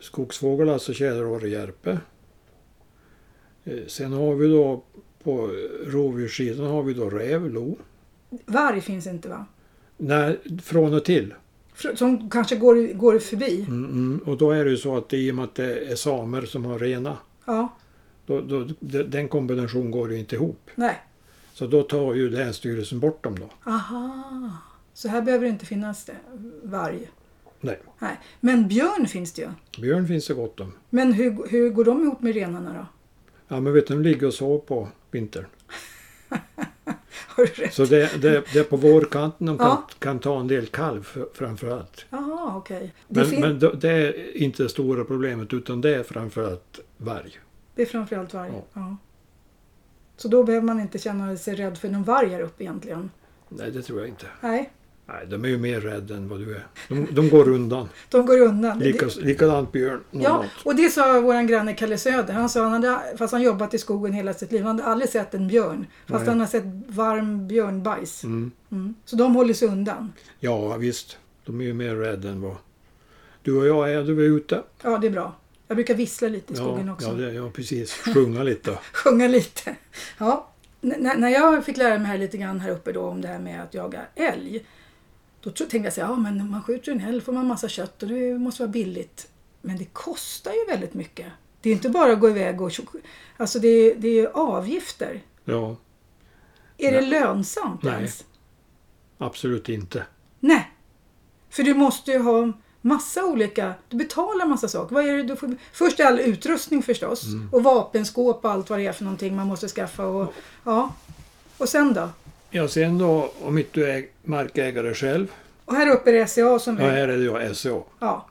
Speaker 2: Skogsfågel, alltså tjäderorre, järpe. Eh, Sen har vi då på rovdjurssidan har vi då räv, lo.
Speaker 1: Varg finns inte va?
Speaker 2: Nej, från och till.
Speaker 1: Fr- Som kanske går, går förbi?
Speaker 2: Mm, mm. Och då är det ju så att i och med att det är samer som har rena,
Speaker 1: Ja,
Speaker 2: då, då, de- den kombinationen går ju inte ihop.
Speaker 1: nej.
Speaker 2: Så då tar ju Länsstyrelsen bort dem då.
Speaker 1: Aha. Så här behöver det inte finnas det, varg.
Speaker 2: Nej,
Speaker 1: Nej. Men björn finns det ju.
Speaker 2: björn finns det gott om.
Speaker 1: Men hur, hur går de ihop med renarna då?
Speaker 2: Ja men vet du, de ligger och sover på vintern.
Speaker 1: Har du rätt?
Speaker 2: Så det, det, det är på vårkanten de kan,
Speaker 1: Ja.
Speaker 2: kan ta en del kalv för- framförallt.
Speaker 1: Jaha, okej. Det,
Speaker 2: Men,
Speaker 1: fin-
Speaker 2: men då- det är inte det stora problemet utan det är framförallt varg.
Speaker 1: det är framförallt varg. Ja.
Speaker 2: Ja.
Speaker 1: Så då behöver man inte känna sig rädd för någon varg här uppe egentligen?
Speaker 2: Nej det tror jag inte.
Speaker 1: Nej,
Speaker 2: Nej, de är ju mer rädda än vad du är. De, de går undan.
Speaker 1: de går undan. Det-
Speaker 2: Likas, likadant björn.
Speaker 1: Ja,
Speaker 2: normalt.
Speaker 1: och det sa våran granne Kalle Söder. Han sa han hade, fast han jobbat i skogen hela sitt liv, han hade aldrig sett en björn. Fast
Speaker 2: Nej.
Speaker 1: han har sett varm björnbajs.
Speaker 2: Mm.
Speaker 1: Mm. Så de håller sig undan.
Speaker 2: ja visst, de är ju mer rädda än vad du och jag är. Du är ute.
Speaker 1: Ja, det är bra. Jag brukar vissla lite i skogen
Speaker 2: ja,
Speaker 1: också.
Speaker 2: ja, det, ja precis, sjunga lite.
Speaker 1: sjunga lite. Ja, n- när när jag fick lära mig här lite grann här uppe då om det här med att jaga älg. Då tro- tänkte jag så här, ja men man skjuter en älg får man massa kött och det måste vara billigt. Men det kostar ju väldigt mycket. Det är inte bara att gå iväg och tjo- Alltså det är, det är ju avgifter.
Speaker 2: Ja,
Speaker 1: Är det
Speaker 2: Nej.
Speaker 1: lönsamt
Speaker 2: Nej.
Speaker 1: ens?
Speaker 2: absolut inte.
Speaker 1: Nej. För du måste ju ha massa olika, du betalar massa saker. Vad är det du får, först är all utrustning förstås
Speaker 2: Mm.
Speaker 1: och vapenskåp och allt vad det är för någonting man måste skaffa. Och, ja. och sen då?
Speaker 2: Ja, sen då om inte du är markägare själv.
Speaker 1: Och här uppe är det SCA som
Speaker 2: Ja,
Speaker 1: är...
Speaker 2: här är det ju SCA.
Speaker 1: Ja,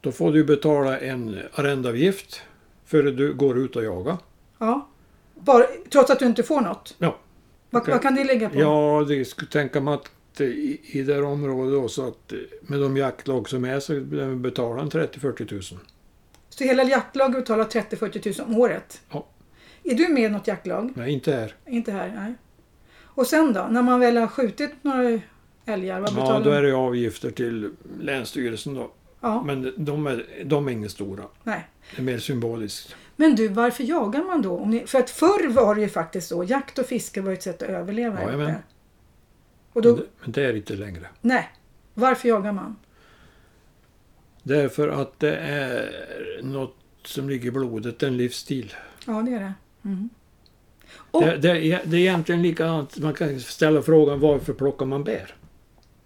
Speaker 2: Då får du betala en arrendavgift före du går ut och jagar.
Speaker 1: ja. Bara, trots att du inte får något?
Speaker 2: Ja.
Speaker 1: Vad,
Speaker 2: Okej.
Speaker 1: vad kan det ligga på?
Speaker 2: Ja, det skulle tänka mig att eh, i, i det här området då, så att eh, med de jaktlag som är så betalar han 30-40 tusen.
Speaker 1: Så hela jaktlaget betalar 30-40 tusen om året?
Speaker 2: Ja.
Speaker 1: Är du med i något jaktlag?
Speaker 2: Nej, inte här.
Speaker 1: Inte här, nej. Och sen då? När man väl har skjutit några älgar, vad betalar
Speaker 2: Ja, då
Speaker 1: man?
Speaker 2: är det ju avgifter till Länsstyrelsen då.
Speaker 1: Ja,
Speaker 2: Men de är, de är inga stora.
Speaker 1: nej.
Speaker 2: Det är mer symboliskt.
Speaker 1: Men du, varför jagar man då? Om ni, för att förr var det ju faktiskt så, jakt och fiske var ju ett sätt att överleva.
Speaker 2: Jajamän.
Speaker 1: inte? Och då,
Speaker 2: Men det- Men det är inte längre.
Speaker 1: nej. Varför jagar man?
Speaker 2: Därför att det är något som ligger i blodet, en livsstil.
Speaker 1: Ja, det är det. Mm. Och-
Speaker 2: Det, det, är- det är egentligen likadant, man kan ställa frågan varför plockar man bär?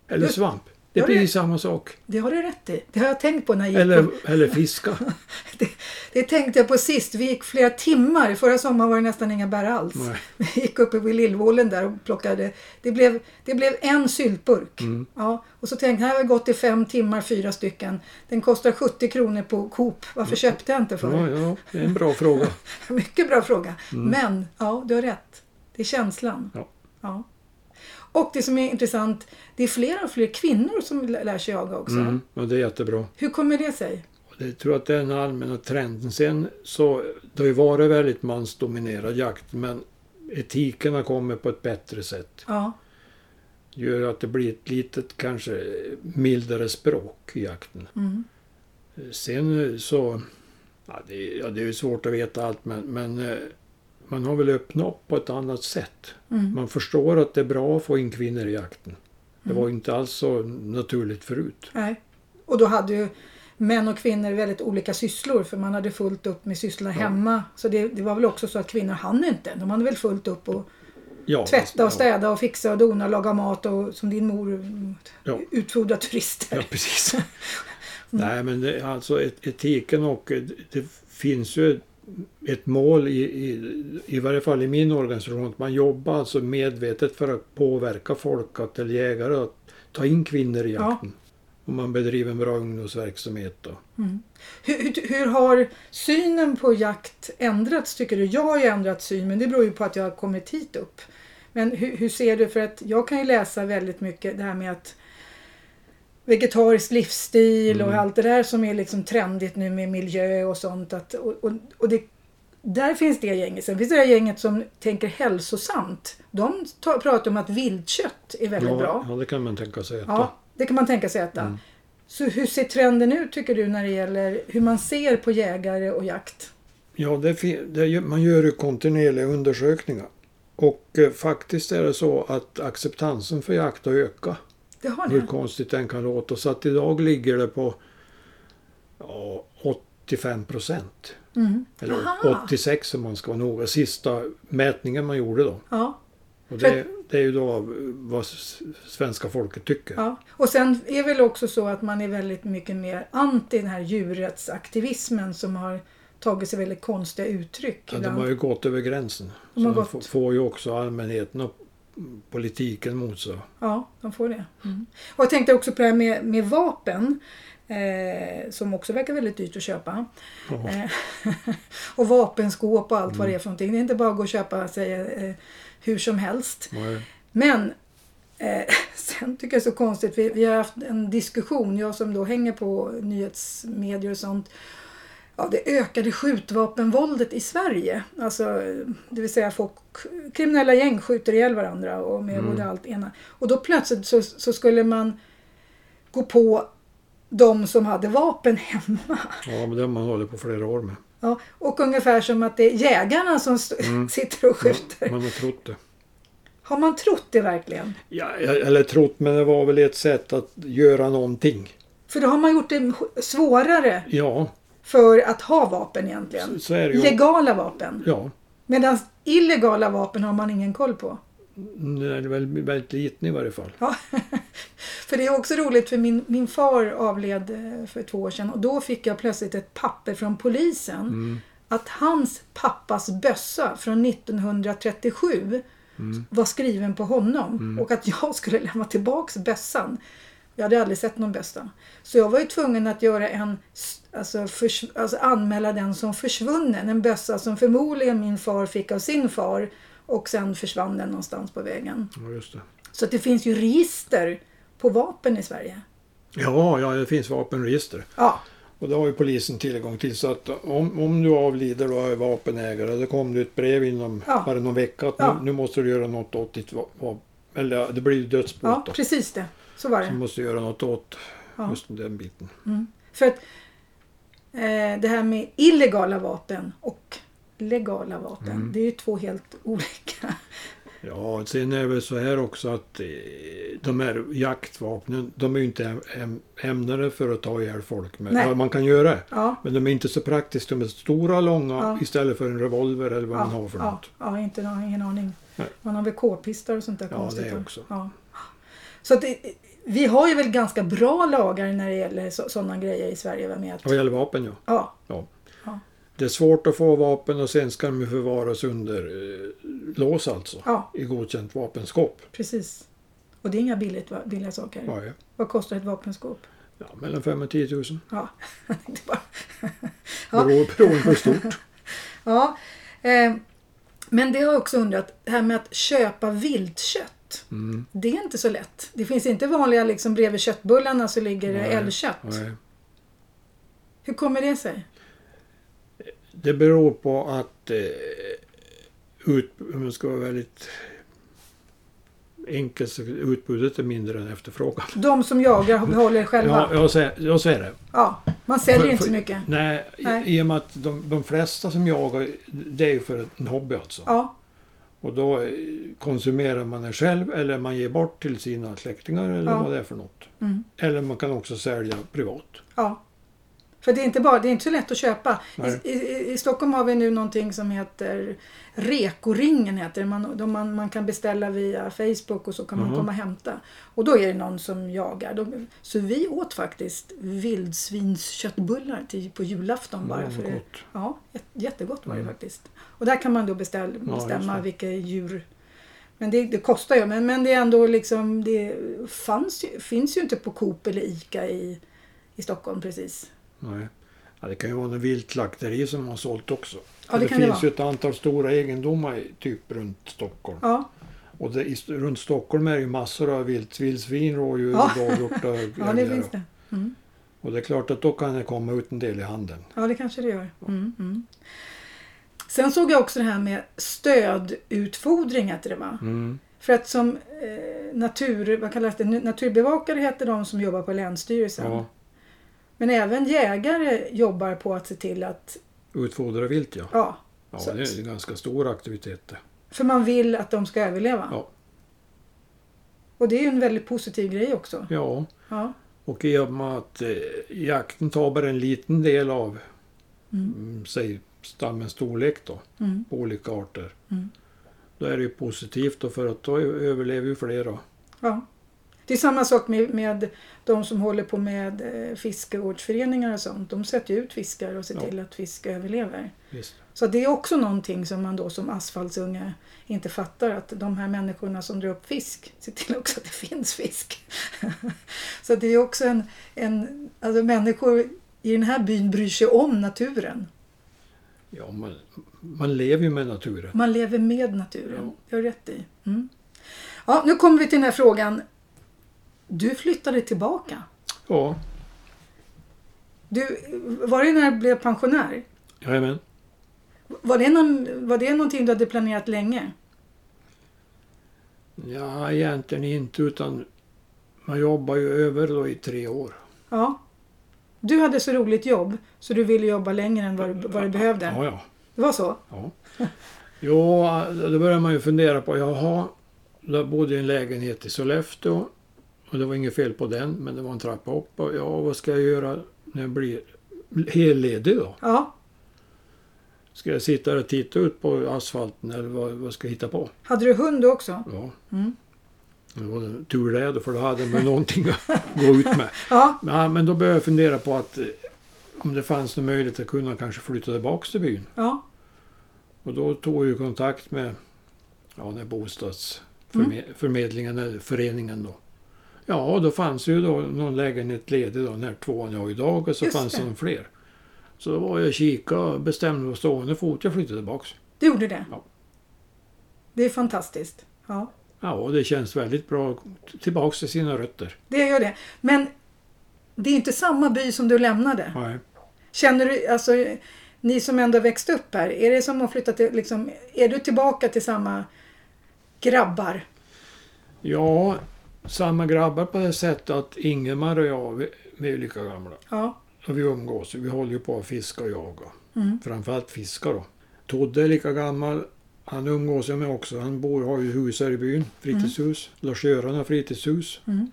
Speaker 2: Eller
Speaker 1: Ja.
Speaker 2: svamp? Det
Speaker 1: Ja,
Speaker 2: blir
Speaker 1: det-
Speaker 2: samma sak.
Speaker 1: Det har du rätt i. Det har jag tänkt på när jag gick
Speaker 2: Eller,
Speaker 1: på,
Speaker 2: eller fiska.
Speaker 1: det, det tänkte jag på sist. Vi gick flera timmar. Förra sommaren var det nästan inga bär alls.
Speaker 2: Nej.
Speaker 1: Vi gick uppe vid Lillvålen där och plockade. Det blev, det blev en syltburk.
Speaker 2: Mm.
Speaker 1: Ja, och så tänkte jag, här har jag gått i fem timmar, fyra stycken. Den kostar 70 kronor på Coop. Varför köpte jag inte för?
Speaker 2: Mm. Ja, ja, det är en bra fråga.
Speaker 1: Mycket bra fråga. Men ja, du har rätt. Det är känslan.
Speaker 2: Mm. Ja.
Speaker 1: Ja. Och det som är intressant, det är fler och fler kvinnor som lär lär sig jaga också.
Speaker 2: Mm, och det är jättebra.
Speaker 1: Hur kommer det sig?
Speaker 2: Jag tror att det är den allmänna trenden. Sen så, det har ju varit väldigt mansdominerad jakt men etiken har kommit på ett bättre sätt.
Speaker 1: Ja,
Speaker 2: gör att det blir ett litet kanske mildare språk i jakten.
Speaker 1: mm.
Speaker 2: Sen eh, så, ja det, är- ja, det är ju svårt att veta allt men, men eh, man har väl öppnat upp på ett annat sätt.
Speaker 1: Mm.
Speaker 2: Man förstår att det är bra att få in kvinnor i jakten. Det
Speaker 1: Mm.
Speaker 2: var ju inte alls så naturligt förut.
Speaker 1: nej. Och då hade ju män och kvinnor väldigt olika sysslor för man hade fullt upp med sysslorna hemma. Så det, det var väl också så att kvinnor hann inte. De hade väl fullt upp och
Speaker 2: Ja, alltså,
Speaker 1: tvätta och
Speaker 2: ja,
Speaker 1: städa och fixa och dona och laga mat och som din mor mm,
Speaker 2: Ja.
Speaker 1: utfodra turister.
Speaker 2: Ja, precis. Nej, men det, alltså et- etiken och eh, det finns ju ett- ett mål i, i, i varje fall i min organisation att man jobbar alltså medvetet för att påverka folk att, eller jägare att ta in kvinnor i
Speaker 1: Ja.
Speaker 2: jakten. Och man bedriver en bra ungdomsverksamhet. Då.
Speaker 1: Hur, hur, hur har synen på jakt ändrats tycker du? Jag har ju ändrat syn men det beror ju på att jag har kommit hit upp. Men hur, hur ser du, för att jag kan ju läsa väldigt mycket det här med att vegetarisk livsstil
Speaker 2: Mm.
Speaker 1: och allt det där som är liksom trendigt nu med miljö och sånt. Att, och, och, och det, där finns det gänget. Sen finns det där gänget som tänker hälsosamt. De tar, pratar om att viltkött är väldigt
Speaker 2: Ja,
Speaker 1: bra.
Speaker 2: ja, det kan man tänka sig. Att,
Speaker 1: Ja, det kan man tänka sig äta.
Speaker 2: Mm.
Speaker 1: Så hur ser trenden ut tycker du när det gäller hur man ser på jägare och jakt?
Speaker 2: Ja, det, fi- det, gör- man gör ju kontinuerliga undersökningar. Och eh, faktiskt är det så att acceptansen för jakt har ökat.
Speaker 1: Det har
Speaker 2: Hur
Speaker 1: ni.
Speaker 2: konstigt den kan låta. Så att idag ligger det på ja, 85 procent.
Speaker 1: Mm.
Speaker 2: Eller
Speaker 1: Aha.
Speaker 2: 86 om man ska vara noga. Sista mätningen man gjorde då.
Speaker 1: Ja,
Speaker 2: Och
Speaker 1: För-
Speaker 2: det, det är ju då av vad s- svenska folket tycker.
Speaker 1: ja. Och sen är väl också så att man är väldigt mycket mer anti den här djurrättsaktivismen som har tagit sig väldigt konstiga uttryck.
Speaker 2: Ja, de
Speaker 1: ibland.
Speaker 2: har ju gått över gränsen.
Speaker 1: De
Speaker 2: så
Speaker 1: har
Speaker 2: de
Speaker 1: gått-
Speaker 2: få- får ju också allmänheten och politiken mot sig.
Speaker 1: Ja, de får det. Mm. Och jag tänkte också på det här med, med vapen. Eh, som också verkar väldigt dyrt att köpa.
Speaker 2: Ja.
Speaker 1: Eh, och vapenskåp och allt vad det är för någonting. Det är inte bara att gå och köpa sig eh, hur som helst.
Speaker 2: Nej.
Speaker 1: Men eh, sen tycker jag det är så konstigt, vi, vi har haft en diskussion, jag som då hänger på nyhetsmedier och sånt, ja, det ökade skjutvapenvåldet i Sverige. Alltså, eh, det vill säga folk, kriminella gäng skjuter ihjäl varandra och med både allt ena. Och då plötsligt så, så skulle man gå på de som hade vapen hemma.
Speaker 2: Ja, men det har man hållit på flera år med.
Speaker 1: Ja, och ungefär som att det är jägarna som st- sitter och skjuter.
Speaker 2: Man har trott det.
Speaker 1: Har man trott det verkligen?
Speaker 2: Ja, eller trott, men det var väl ett sätt att göra någonting.
Speaker 1: För då har man gjort det svårare
Speaker 2: Ja,
Speaker 1: för att ha vapen egentligen.
Speaker 2: så är det ju.
Speaker 1: Legala vapen.
Speaker 2: Ja.
Speaker 1: Medan illegala vapen har man ingen koll på.
Speaker 2: Den är väl väldigt liten i varje fall.
Speaker 1: Ja. för det är också roligt för min, min far avled eh, för två år sedan och då fick jag plötsligt ett papper från polisen att hans pappas bössa från 1937 var skriven på honom och att jag skulle lämna tillbaks bössan. Jag hade aldrig sett någon bössa. Så jag var ju tvungen att göra en, s- alltså, förs, alltså anmäla den som försvunnen. En bössa som förmodligen min far fick av sin far och sen försvann den någonstans på vägen.
Speaker 2: Ja, just det.
Speaker 1: Så att det finns ju register på vapen i Sverige.
Speaker 2: Ja, ja, det finns vapenregister.
Speaker 1: Ja,
Speaker 2: Och det har ju polisen tillgång till. Så att om, om du avlider och är vapenägare, då kom det ett brev inom
Speaker 1: Ja.
Speaker 2: bara någon vecka att
Speaker 1: Ja.
Speaker 2: nu, nu måste du göra något åt ditt vapen. Eller ja, det blir ju dödsbot
Speaker 1: ja
Speaker 2: då.
Speaker 1: precis det. Så var
Speaker 2: Du
Speaker 1: det.
Speaker 2: måste göra något åt
Speaker 1: Ja.
Speaker 2: just den biten.
Speaker 1: För att eh, det här med
Speaker 2: Mm.
Speaker 1: illegala vapen och legala vapen, det är ju två helt olika.
Speaker 2: Ja, sen är det väl så här också att eh, de här jaktvapnen, de är ju inte äm- äm- ämnade för att ta ihjäl folk med.
Speaker 1: Nej.
Speaker 2: Ja, man kan göra det.
Speaker 1: Ja,
Speaker 2: Men de är inte så praktiska. De är stora, långa
Speaker 1: Ja.
Speaker 2: istället för en revolver eller vad
Speaker 1: ja,
Speaker 2: man har för
Speaker 1: ja,
Speaker 2: något.
Speaker 1: ja, inte, jag har ingen aning.
Speaker 2: Nej.
Speaker 1: Man har väl k-pistar och sånt där
Speaker 2: Ja,
Speaker 1: konstigt.
Speaker 2: det
Speaker 1: va?
Speaker 2: också.
Speaker 1: Ja. Så att det, vi har ju väl ganska bra lagar när det gäller sådana grejer i Sverige. Vad med att,
Speaker 2: Vad gäller vapen ja.
Speaker 1: ja,
Speaker 2: ja.
Speaker 1: Ja.
Speaker 2: Det är svårt att få vapen och sen ska de ju förvaras under eh, lås alltså.
Speaker 1: ja,
Speaker 2: I godkänt vapenskåp.
Speaker 1: precis. Och det är inga billigt, va- billiga saker.
Speaker 2: Ja, ja.
Speaker 1: Vad kostar ett vapenskåp?
Speaker 2: Ja, mellan 5 och 10 tusen.
Speaker 1: Ja, det är bara... Ja.
Speaker 2: Beror, beroende på hur stort.
Speaker 1: ja. Eh, men det har jag också undrat, det här med att köpa viltkött.
Speaker 2: Mm.
Speaker 1: Det är inte så lätt. Det finns inte vanliga, liksom bredvid köttbullarna så ligger det
Speaker 2: Nej,
Speaker 1: älgkött.
Speaker 2: Nej.
Speaker 1: Hur kommer det sig?
Speaker 2: Det beror på att eh, ut, om jag ska vara väldigt enkelt så utbudet är mindre än efterfrågan.
Speaker 1: De som jagar behåller själva.
Speaker 2: Ja, jag, säger, jag säger det.
Speaker 1: Ja, man säljer
Speaker 2: För-
Speaker 1: inte så
Speaker 2: för-
Speaker 1: mycket.
Speaker 2: Nej, i-
Speaker 1: Nej.
Speaker 2: i och med att de, de flesta som jagar, det är ju för en hobby alltså.
Speaker 1: Ja,
Speaker 2: Och då eh, konsumerar man det själv eller man ger bort till sina släktingar eller
Speaker 1: Ja.
Speaker 2: vad det är för något.
Speaker 1: Mm.
Speaker 2: Eller man kan också sälja privat.
Speaker 1: ja. För det är inte, bara, det är inte så lätt att köpa.
Speaker 2: Nej.
Speaker 1: I, i, I Stockholm har vi nu någonting som heter Rekoringen. Heter det. Man, de, man, man kan beställa via Facebook och så kan man
Speaker 2: Mhm.
Speaker 1: komma och hämta. Och då är det någon som jagar. De, så vi åt faktiskt vildsvinsköttbullar till, på julafton. Bara
Speaker 2: Mm,
Speaker 1: för det.
Speaker 2: gott.
Speaker 1: Ja, jät- jättegott var det
Speaker 2: Mm.
Speaker 1: faktiskt. Och där kan man då beställ,
Speaker 2: Ja,
Speaker 1: bestämma
Speaker 2: just det.
Speaker 1: vilka djur Men det, det kostar ju. Men, men det är ändå liksom, det fanns ju, finns ju inte på Coop eller ICA i, i Stockholm precis.
Speaker 2: Nej. Ja, det kan ju vara något viltslakteri som har sålt också.
Speaker 1: Ja, det kan det
Speaker 2: finns
Speaker 1: vara.
Speaker 2: ju ett antal stora egendomar i- typ runt Stockholm.
Speaker 1: Ja,
Speaker 2: Och det, i, runt Stockholm är det ju massor av vilt, vildsvin, rådjur,
Speaker 1: Ja.
Speaker 2: blåhjortar,
Speaker 1: ja det
Speaker 2: älgar.
Speaker 1: finns det. Mm.
Speaker 2: Och det är klart att då kan det komma ut en del i handeln.
Speaker 1: Ja, det kanske det gör. Mm, mm. Sen såg jag också det här med stödutfodring heter det va? För att som eh, natur, vad kallas det, naturbevakare heter de som jobbar på Länsstyrelsen.
Speaker 2: Ja,
Speaker 1: Men även jägare jobbar på att se till att,
Speaker 2: utfodra vilt ja.
Speaker 1: ja,
Speaker 2: Ja,
Speaker 1: Så-
Speaker 2: det är en ganska stor aktivitet det.
Speaker 1: För man vill att de ska överleva.
Speaker 2: Ja.
Speaker 1: Och det är ju en väldigt positiv grej också.
Speaker 2: Ja,
Speaker 1: Ja,
Speaker 2: och i och med att eh, jakten tar bara en liten del av, mm, säg stammens storlek då,
Speaker 1: Mm.
Speaker 2: på olika arter.
Speaker 1: Mm.
Speaker 2: Då är det ju positivt då för att då ö- överlever ju flera.
Speaker 1: ja. Det är samma sak med, med de som håller på med eh, fiskevårdsföreningar och sånt. De sätter ju ut fiskar och ser
Speaker 2: Ja.
Speaker 1: till att fisk överlever.
Speaker 2: Visst.
Speaker 1: Så det är också någonting som man då som asfaltsunge inte fattar att de här människorna som drar upp fisk ser till också att det finns fisk. Så det är också en, en alltså människor i den här byn bryr sig om naturen.
Speaker 2: Ja, man, man lever ju med naturen.
Speaker 1: Man lever med naturen.
Speaker 2: Ja.
Speaker 1: Det har du rätt i. Mm. Ja, nu kommer vi till den här frågan. Du flyttade tillbaka.
Speaker 2: Ja,
Speaker 1: Du, var det när du blev pensionär?
Speaker 2: jajamän.
Speaker 1: Var det, någon, var det någonting du hade planerat länge?
Speaker 2: Ja, egentligen inte utan man jobbar ju över då i tre år.
Speaker 1: Ja. Du hade så roligt jobb så du ville jobba längre än vad du, vad du behövde.
Speaker 2: Ja, ja.
Speaker 1: Det var så?
Speaker 2: ja. Jo, då börjar man ju fundera på, jaha, då bodde jag i en lägenhet i Sollefteå och det var inget fel på den, men det var en trappa upp och ja, vad ska jag göra när jag blir helledig då?
Speaker 1: Ja.
Speaker 2: Ska jag sitta där och titta ut på asfalten eller vad, vad ska jag hitta på?
Speaker 1: Hade du hund också?
Speaker 2: Ja.
Speaker 1: Mm.
Speaker 2: Det var tur det då, för då hade man någonting att gå ut med.
Speaker 1: Ja.
Speaker 2: Ja, men då började jag fundera på att eh, om det fanns någon möjlighet att kunna kanske flytta tillbaka till byn.
Speaker 1: Ja.
Speaker 2: Och då tog jag ju kontakt med ja, den här
Speaker 1: Mm.
Speaker 2: bostadsförmedlingen eller föreningen då. Ja, då fanns ju då någon lägenhet ledig då, den här tvåan jag har idag och så
Speaker 1: Just
Speaker 2: fanns
Speaker 1: det.
Speaker 2: det någon fler. Så då var jag och kika och bestämde mig på stående fot jag flyttade tillbaka.
Speaker 1: Du gjorde det?
Speaker 2: Ja.
Speaker 1: Det är fantastiskt. Ja.
Speaker 2: Ja, och det känns väldigt bra tillbaka till sina rötter.
Speaker 1: Det gör det. Men det är inte samma by som du lämnade.
Speaker 2: Nej.
Speaker 1: Känner du, alltså ni som ändå växt upp här, är det som att flytta till, liksom, är du tillbaka till samma grabbar?
Speaker 2: Ja, samma grabbar på det sättet att Ingemar och jag, vi, vi är ju lika gamla.
Speaker 1: Ja,
Speaker 2: Och vi umgås, vi håller ju på att fiska och jaga.
Speaker 1: Mm.
Speaker 2: Framförallt fiska då. Todde är lika gammal, Han umgås jag med också. Han bor, har ju hus här i byn, fritidshus. Lars-Göran har fritidshus.
Speaker 1: Mm.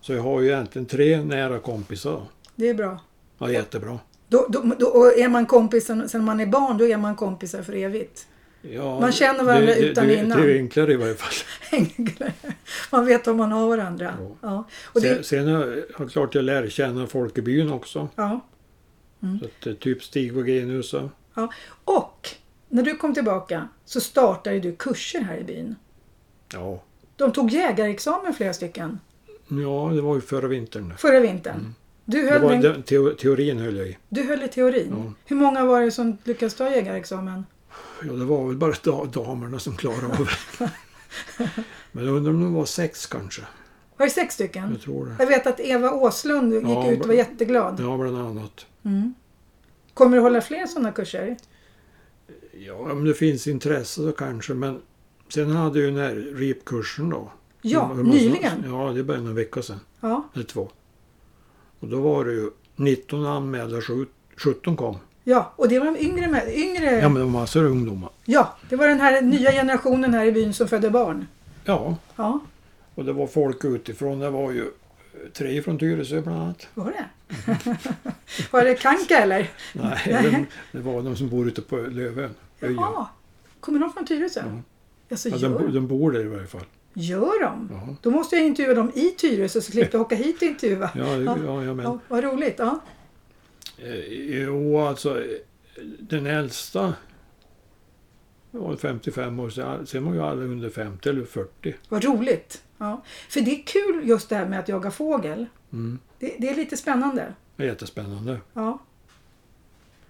Speaker 2: Så jag har ju egentligen tre nära kompisar.
Speaker 1: Det är bra.
Speaker 2: Ja, jättebra.
Speaker 1: Då, då, då, och är man kompis sen, sen man är barn, då är man kompisar för evigt.
Speaker 2: Ja,
Speaker 1: Man känner varandra
Speaker 2: det, det,
Speaker 1: utan
Speaker 2: det,
Speaker 1: innan.
Speaker 2: Det är enklare i varje fall.
Speaker 1: Enklare. Man vet vad man har varandra.
Speaker 2: Ja.
Speaker 1: Ja. Och
Speaker 2: Sen,
Speaker 1: det,
Speaker 2: sen har jag klart jag lär känna folk i byn också.
Speaker 1: ja. Mm.
Speaker 2: Så att, eh, typ Stig Wagenius. och-
Speaker 1: Ja. Och när du kom tillbaka så startade du kurser här i byn.
Speaker 2: Ja.
Speaker 1: De tog jägarexamen flera stycken
Speaker 2: ja, det var ju förra vintern.
Speaker 1: förra vintern. Du,
Speaker 2: Mm. Det
Speaker 1: höll
Speaker 2: var,
Speaker 1: den,
Speaker 2: den, teo, teorin höll jag i.
Speaker 1: du höll i teorin.
Speaker 2: Ja.
Speaker 1: Hur många var det som lyckades ta jägarexamen?
Speaker 2: Ja, det var väl bara da, damerna som klarade av det. Men jag undrar om de var sex kanske.
Speaker 1: Var det sex stycken?
Speaker 2: Jag tror det.
Speaker 1: Jag vet att Eva Åslund gick
Speaker 2: Ja,
Speaker 1: ut och var
Speaker 2: men-
Speaker 1: jätteglad. Mm.
Speaker 2: Ja, bland annat.
Speaker 1: Kommer du hålla fler sådana kurser?
Speaker 2: Ja, om det finns intresse så kanske. Men sen hade jag ju den här repkursen då.
Speaker 1: Ja,
Speaker 2: Hur- hur man ska-
Speaker 1: nyligen.
Speaker 2: Ja, det är bara en vecka sedan.
Speaker 1: Ja,
Speaker 2: Eller två. Och då var det ju 19 anmälda, sju- 17 kom.
Speaker 1: ja. och det var de yngre. Med, yngre
Speaker 2: Ja,
Speaker 1: ja.
Speaker 2: men det var massor av ungdomar.
Speaker 1: det var den här nya generationen här i byn som födde barn.
Speaker 2: Ja,
Speaker 1: Ja,
Speaker 2: och det var folk utifrån. Det var ju tre från Tyresö bland annat.
Speaker 1: var det? var det Kanka eller?
Speaker 2: Nej,
Speaker 1: Nej.
Speaker 2: de- det var de som bor ute på Lövön. Öja.
Speaker 1: Ja. Kommer de från Tyresö?
Speaker 2: Ja.
Speaker 1: Alltså,
Speaker 2: Ja,
Speaker 1: gör,
Speaker 2: de, bo- de bor där i varje fall.
Speaker 1: gör de?
Speaker 2: Ja,
Speaker 1: Då måste jag intervjua dem i Tyresö så slipper jag åka hit och intervjua.
Speaker 2: ja, ja, ja men.
Speaker 1: Ja, vad roligt. Ja.
Speaker 2: Eh, Jo, alltså eh, den äldsta var 55 år, sen- sen var ju alla under 50 eller 40.
Speaker 1: Vad roligt! Ja. För det är kul just det här med att jaga fågel.
Speaker 2: Mm.
Speaker 1: Det, det är lite spännande.
Speaker 2: Det är jättespännande.
Speaker 1: Ja.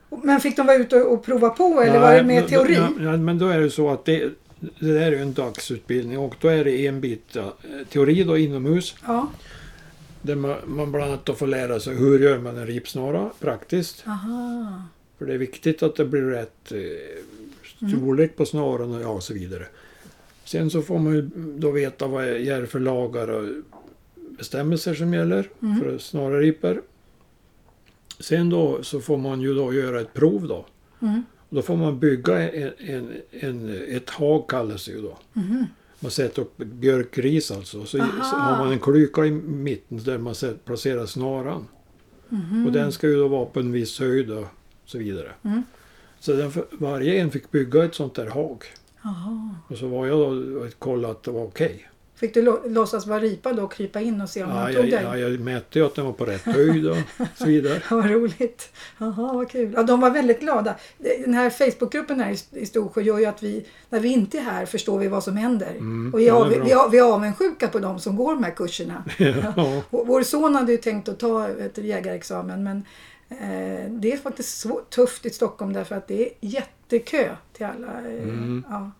Speaker 1: Och- Men fick de vara ute och, och prova på eller var
Speaker 2: Nej,
Speaker 1: det mer
Speaker 2: men-
Speaker 1: teori?
Speaker 2: men- Ja, men då är det ju så att det, det där är ju en dagsutbildning och då är det en bit eh, teori då inomhus
Speaker 1: Ja.
Speaker 2: där man, man bland annat då får lära sig hur gör man en ripsnara praktiskt.
Speaker 1: Aha.
Speaker 2: För det är viktigt att det blir rätt eh,
Speaker 1: Mm.
Speaker 2: storlek på snaran och ja, och så vidare. Sen så får man ju då veta vad är för lagar och bestämmelser som gäller
Speaker 1: Mm.
Speaker 2: för snararipor. Sen då så får man ju då göra ett prov då.
Speaker 1: Mm.
Speaker 2: Då får man bygga en, en, en, ett hag kallas det ju då.
Speaker 1: Mhm.
Speaker 2: Man sätter upp björkris alltså. Så,
Speaker 1: Aha.
Speaker 2: så har man en klyka i mitten där man sätter, placerar snaran. Och den ska ju då vara på en viss höjd och så vidare.
Speaker 1: Mm-hmm. Mm.
Speaker 2: Så den, f- varje en fick bygga ett sånt där hag.
Speaker 1: Aha.
Speaker 2: Och så var jag då och kollade att det var okej.
Speaker 1: Fick du lo- låtsas vara ripa då och krypa in och se om
Speaker 2: Ja,
Speaker 1: han
Speaker 2: jag,
Speaker 1: tog dig?
Speaker 2: ja, jag mätte ju att den var på rätt höjd och så vidare.
Speaker 1: Ja, vad roligt. Jaha, vad kul. Ja, de var väldigt glada. Den här Facebookgruppen här i- i Storsjö gör ju att vi, när vi inte är här, förstår vi vad som händer.
Speaker 2: Mm,
Speaker 1: Och vi är,
Speaker 2: ja,
Speaker 1: av,
Speaker 2: det är bra.
Speaker 1: vi, är, vi är avundsjuka på de som går de här kurserna.
Speaker 2: ja.
Speaker 1: Vår vår son hade ju tänkt att ta ett jägarexamen men eh, det är faktiskt svå- tufft i Stockholm därför att det är jättekö till alla. eh,
Speaker 2: Mm.
Speaker 1: Ja,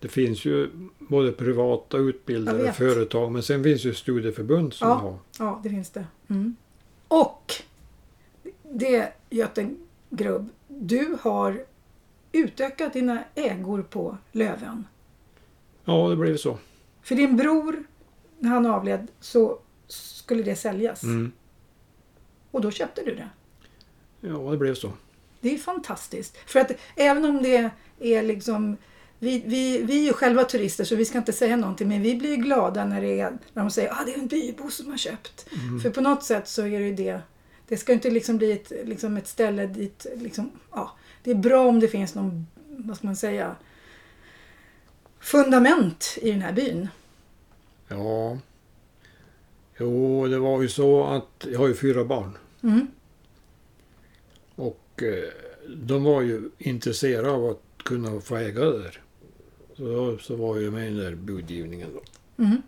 Speaker 2: Det finns ju både privata
Speaker 1: Jag
Speaker 2: utbildare
Speaker 1: vet.
Speaker 2: och företag men sen finns ju studieförbund som
Speaker 1: Ja.
Speaker 2: har.
Speaker 1: ja, det finns det. Mm. Och det Göte Grubb, du har utökat dina ägor på Lövön.
Speaker 2: Ja, det blev så.
Speaker 1: För din bror, när han avled, så skulle det säljas.
Speaker 2: Mm.
Speaker 1: Och då köpte du det.
Speaker 2: Ja, det blev så.
Speaker 1: Det är fantastiskt. För att även om det är liksom vi, vi, vi är ju själva turister så vi ska inte säga någonting men vi blir ju glada när, det är, när de säger att ah, det är en bybo som har köpt.
Speaker 2: Mm.
Speaker 1: För på något sätt så är det ju det. Det ska ju inte liksom bli ett, liksom ett ställe dit liksom, ja, det är bra om det finns någon, vad ska man säga, fundament i den här byn.
Speaker 2: Ja. Jo, det var ju så att jag har ju fyra barn.
Speaker 1: Mm.
Speaker 2: Och eh, de var ju intresserade av att kunna få äga det där. Så, då- så var jag med i den där budgivningen då.
Speaker 1: Mm.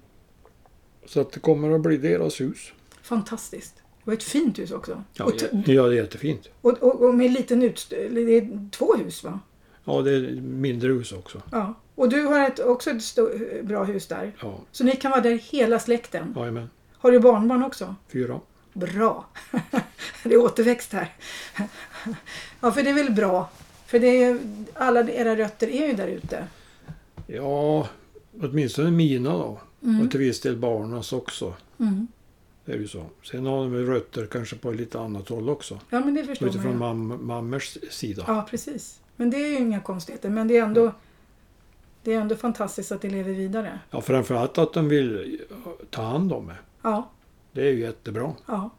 Speaker 2: Så att det kommer att bli deras hus.
Speaker 1: Fantastiskt. Det var ett fint hus också.
Speaker 2: Ja,
Speaker 1: och, t-
Speaker 2: ja det är jättefint.
Speaker 1: och, och, och med liten utstyrning, det är två hus va?
Speaker 2: Ja, det är mindre hus också.
Speaker 1: Ja, och du har ett, också ett sto- bra hus där.
Speaker 2: Ja,
Speaker 1: Så ni kan vara där hela släkten.
Speaker 2: jajamän.
Speaker 1: Har du barnbarn också?
Speaker 2: Fyra.
Speaker 1: Bra! det är återväxt här. ja, för det är väl bra. För det är, alla era rötter är ju där ute.
Speaker 2: Ja, åtminstone mina då. Och till viss del barnas också.
Speaker 1: Mm.
Speaker 2: Det är ju så. Sen har de ju rötter kanske på lite annat håll också.
Speaker 1: Ja, men det förstår man
Speaker 2: Utifrån
Speaker 1: ju.
Speaker 2: mam mammers sida.
Speaker 1: Ja, precis. Men det är ju inga konstigheter. Men det är ändå Det är ändå fantastiskt att det lever vidare.
Speaker 2: Ja, framförallt att de vill ta hand om det.
Speaker 1: Ja,
Speaker 2: Det är ju jättebra.
Speaker 1: ja.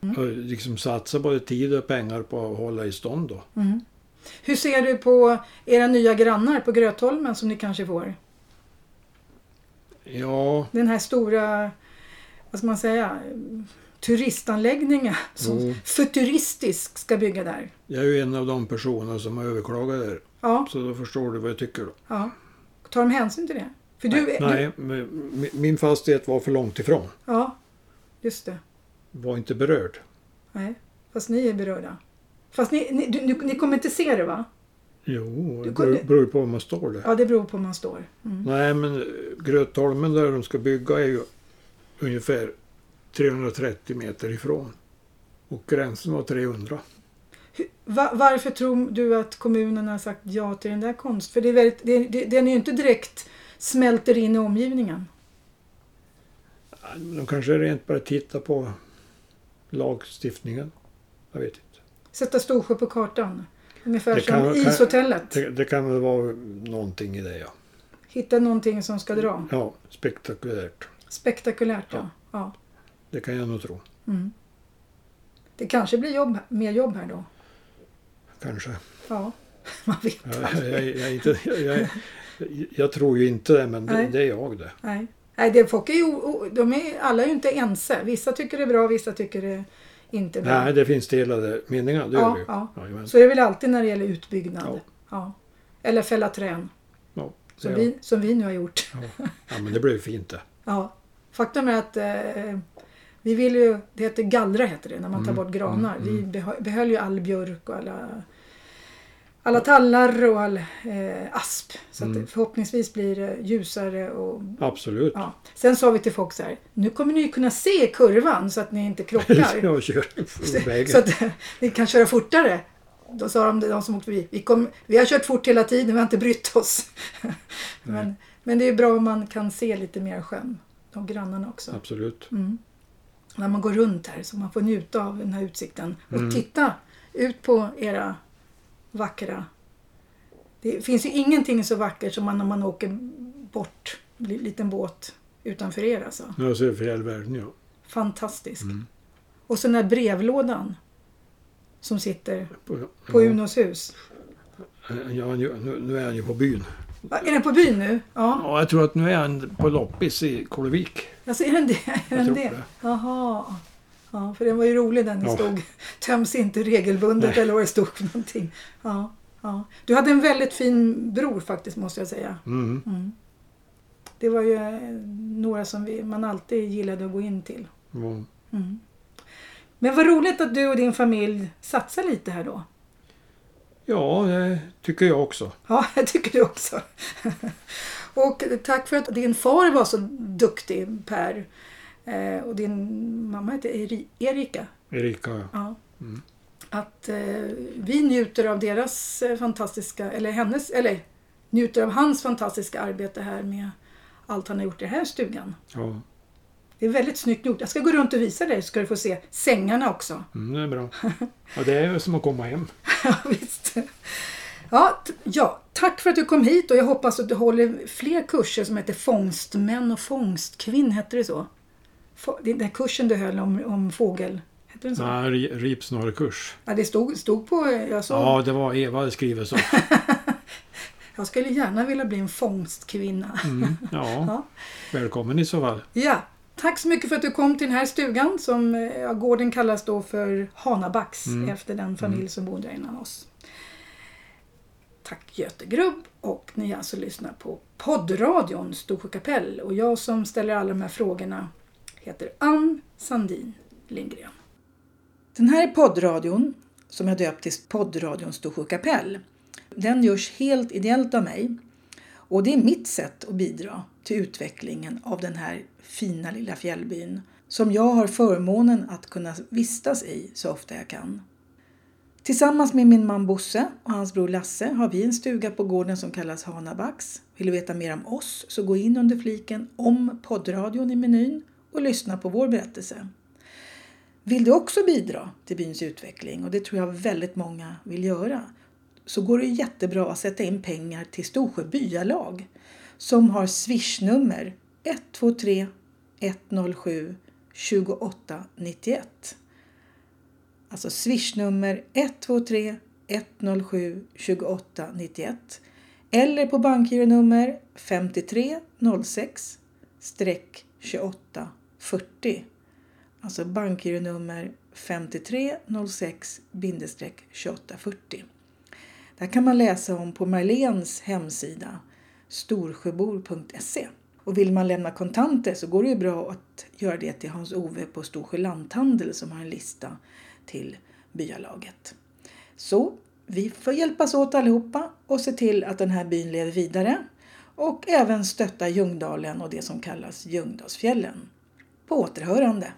Speaker 1: Mm.
Speaker 2: Och liksom satsa både tid och pengar på att hålla i stånd då.
Speaker 1: Mm. Hur ser du på era nya grannar på Grötholmen som ni kanske får?
Speaker 2: Ja,
Speaker 1: Den här stora, vad ska man säga, turistanläggningen som
Speaker 2: Mm.
Speaker 1: futuristisk ska bygga där.
Speaker 2: jag är ju en av de personer som har överklagat det här.
Speaker 1: Ja,
Speaker 2: Så då förstår du vad jag tycker då.
Speaker 1: ja. Tar de hänsyn till det? För du, du-
Speaker 2: Nej, men Mm. mi- min fastighet var för långt ifrån.
Speaker 1: Ja, just det.
Speaker 2: Var inte berörd.
Speaker 1: Nej. Fast ni är berörda. Fast ni, ni, du, ni, ni kommer inte se det va?
Speaker 2: Jo, det
Speaker 1: Du kunde-
Speaker 2: beror- beror på var man står där.
Speaker 1: Ja, det beror på hur man står. Mm.
Speaker 2: Nej, men eh, Grötholmen där de ska bygga är ju ungefär 330 meter ifrån. Och gränsen var 300.
Speaker 1: Hur- Va, varför tror du att kommunen har sagt ja till den där konst? För det är väldigt, det, det, den är ju inte direkt smälter in i omgivningen.
Speaker 2: Ja, men De kanske rent bara tittar på lagstiftningen. Jag vet inte.
Speaker 1: Sätta Storsjö på kartan. Ungefär
Speaker 2: Det
Speaker 1: som
Speaker 2: kan- kan-
Speaker 1: ishotellet.
Speaker 2: Det, det kan väl vara någonting i det ja.
Speaker 1: Hitta någonting som ska dra.
Speaker 2: Ja, spektakulärt.
Speaker 1: Spektakulärt ja. ja.
Speaker 2: Det kan jag nog tro.
Speaker 1: Mm. Det kanske blir jobb, mer jobb här då.
Speaker 2: Kanske.
Speaker 1: Ja, man vet
Speaker 2: Jag, jag, jag, är inte, jag, jag, jag tror ju inte det, men det,
Speaker 1: Nej.
Speaker 2: det är jag det.
Speaker 1: Nej. Nej, det, folk är ju, o- o- de är, alla är ju inte ense. Vissa tycker det är bra, vissa tycker det inte är bra.
Speaker 2: Nej, det finns delade meningar. Det
Speaker 1: Ja,
Speaker 2: gör det ju.
Speaker 1: ja.
Speaker 2: Jajamän.
Speaker 1: Så är det väl alltid när det gäller utbyggnad.
Speaker 2: Ja.
Speaker 1: Ja. Eller fälla trän,
Speaker 2: Ja, det,
Speaker 1: som,
Speaker 2: är-
Speaker 1: vi, som vi nu har gjort.
Speaker 2: ja, men det blev fint det.
Speaker 1: Ja. Faktum är att eh, vi vill ju, det heter gallra heter det när man tar
Speaker 2: Mm,
Speaker 1: bort granar. Vi behö- behöll ju all björk och alla, alla tallar och all eh, asp. Så att
Speaker 2: Mm.
Speaker 1: det förhoppningsvis blir det ljusare och
Speaker 2: Absolut.
Speaker 1: Ja. Sen sa vi till folk så här, nu kommer ni ju kunna se kurvan så att ni inte krockar.
Speaker 2: Jag kör från
Speaker 1: så
Speaker 2: vägen.
Speaker 1: att ni kan köra fortare. Då sa de, de som åkte förbi, vi, kom, vi har kört fort hela tiden, vi har inte brytt oss. men, men det är bra om man kan se lite mer sjön, de grannarna också.
Speaker 2: Absolut.
Speaker 1: Mm. När man går runt här så man får njuta av den här utsikten. Och titta ut på era vackra... Det finns ju ingenting så vackert som man när man åker bort, li- liten båt utanför er alltså.
Speaker 2: Nu har jag sett fjällvärlden ja.
Speaker 1: Fantastisk.
Speaker 2: Mm.
Speaker 1: Och så den här brevlådan som sitter
Speaker 2: På,
Speaker 1: på
Speaker 2: ja,
Speaker 1: Unos hus.
Speaker 2: ja, nu, nu- nu är han ju på byn.
Speaker 1: Va, är den på byn nu? Ja.
Speaker 2: Ja, jag tror att nu är han på loppis i Kålevik.
Speaker 1: Alltså, är den det? Är den
Speaker 2: tror
Speaker 1: det?
Speaker 2: det.
Speaker 1: Jaha. Ja, för den var ju rolig den
Speaker 2: Ja.
Speaker 1: det stod. Töms inte regelbundet eller vad det stod för någonting. Ja, ja. Du hade en väldigt fin bror faktiskt måste jag säga.
Speaker 2: Mm.
Speaker 1: Det var ju eh, några som vi, man alltid gillade att gå in till. Mm.
Speaker 2: Ja.
Speaker 1: Men vad roligt att du och din familj satsar lite här då.
Speaker 2: Ja, det tycker jag också.
Speaker 1: Ja, jag tycker det också. Och tack för att din far var så duktig, Per. Eh, Och din mamma heter Eri- Erika.
Speaker 2: Erika, ja.
Speaker 1: Ja. Att eh, vi njuter av deras eh, fantastiska, eller hennes, eller njuter av hans fantastiska arbete här med allt han har gjort i den här stugan.
Speaker 2: ja.
Speaker 1: Det är väldigt snyggt gjort. Jag ska gå runt och visa dig så ska du få se sängarna också.
Speaker 2: Mm, det är bra. Ja, det är som att komma hem.
Speaker 1: Ja, visst. Ja, t- ja, tack för att du kom hit och jag hoppas att du håller fler kurser som heter Fångstmän och Fångstkvinn, hette det så? Få- Den där kursen du höll om, om fågel, hette den så? Ja.
Speaker 2: Nej, ri- ripsnörekurs.
Speaker 1: det stod, stod på, jag sa,
Speaker 2: Ja, det var Eva hade skrivit så.
Speaker 1: jag skulle gärna vilja bli en fångstkvinna.
Speaker 2: Mm, ja,
Speaker 1: Ja.
Speaker 2: välkommen i så fall.
Speaker 1: ja, tack så mycket för att du kom till den här stugan som eh, ja, gården kallas då för Hanabacks efter den familj som bodde där innan oss. Tack Göte Grubb och ni alltså lyssnar på poddradion Storsjö kapell och jag som ställer alla de här frågorna heter Ann Sandin Lindgren. Den här poddradion som jag döpt till poddradion Storsjö kapell den görs helt ideellt av mig och det är mitt sätt att bidra till utvecklingen av den här fina lilla fjällbyn som jag har förmånen att kunna vistas i så ofta jag kan. Tillsammans med min man Bosse och hans bror Lasse har vi en stuga på gården som kallas Hanabacks. Vill du veta mer om oss så gå in under fliken om poddradion i menyn och lyssna på vår berättelse. Vill du också bidra till byns utveckling och det tror jag väldigt många vill göra så går det jättebra att sätta in pengar till Storsjö byalag som har swishnummer 123 107 2891. Alltså swishnummer 123 107 2891 eller på bankgironummer 5306 2840. Alltså bankgironummer 5306 2840. Där kan man läsa om på Marlens hemsida storsjöbor.se. Och vill man lämna kontanter så går det ju bra att göra det till Hans-Ove på Storsjö lanthandel som har en lista till byalaget. Så vi får hjälpas åt allihopa och se till att den här byn lever vidare och även stötta Ljungdalen och det som kallas Ljungdalsfjällen. På återhörande!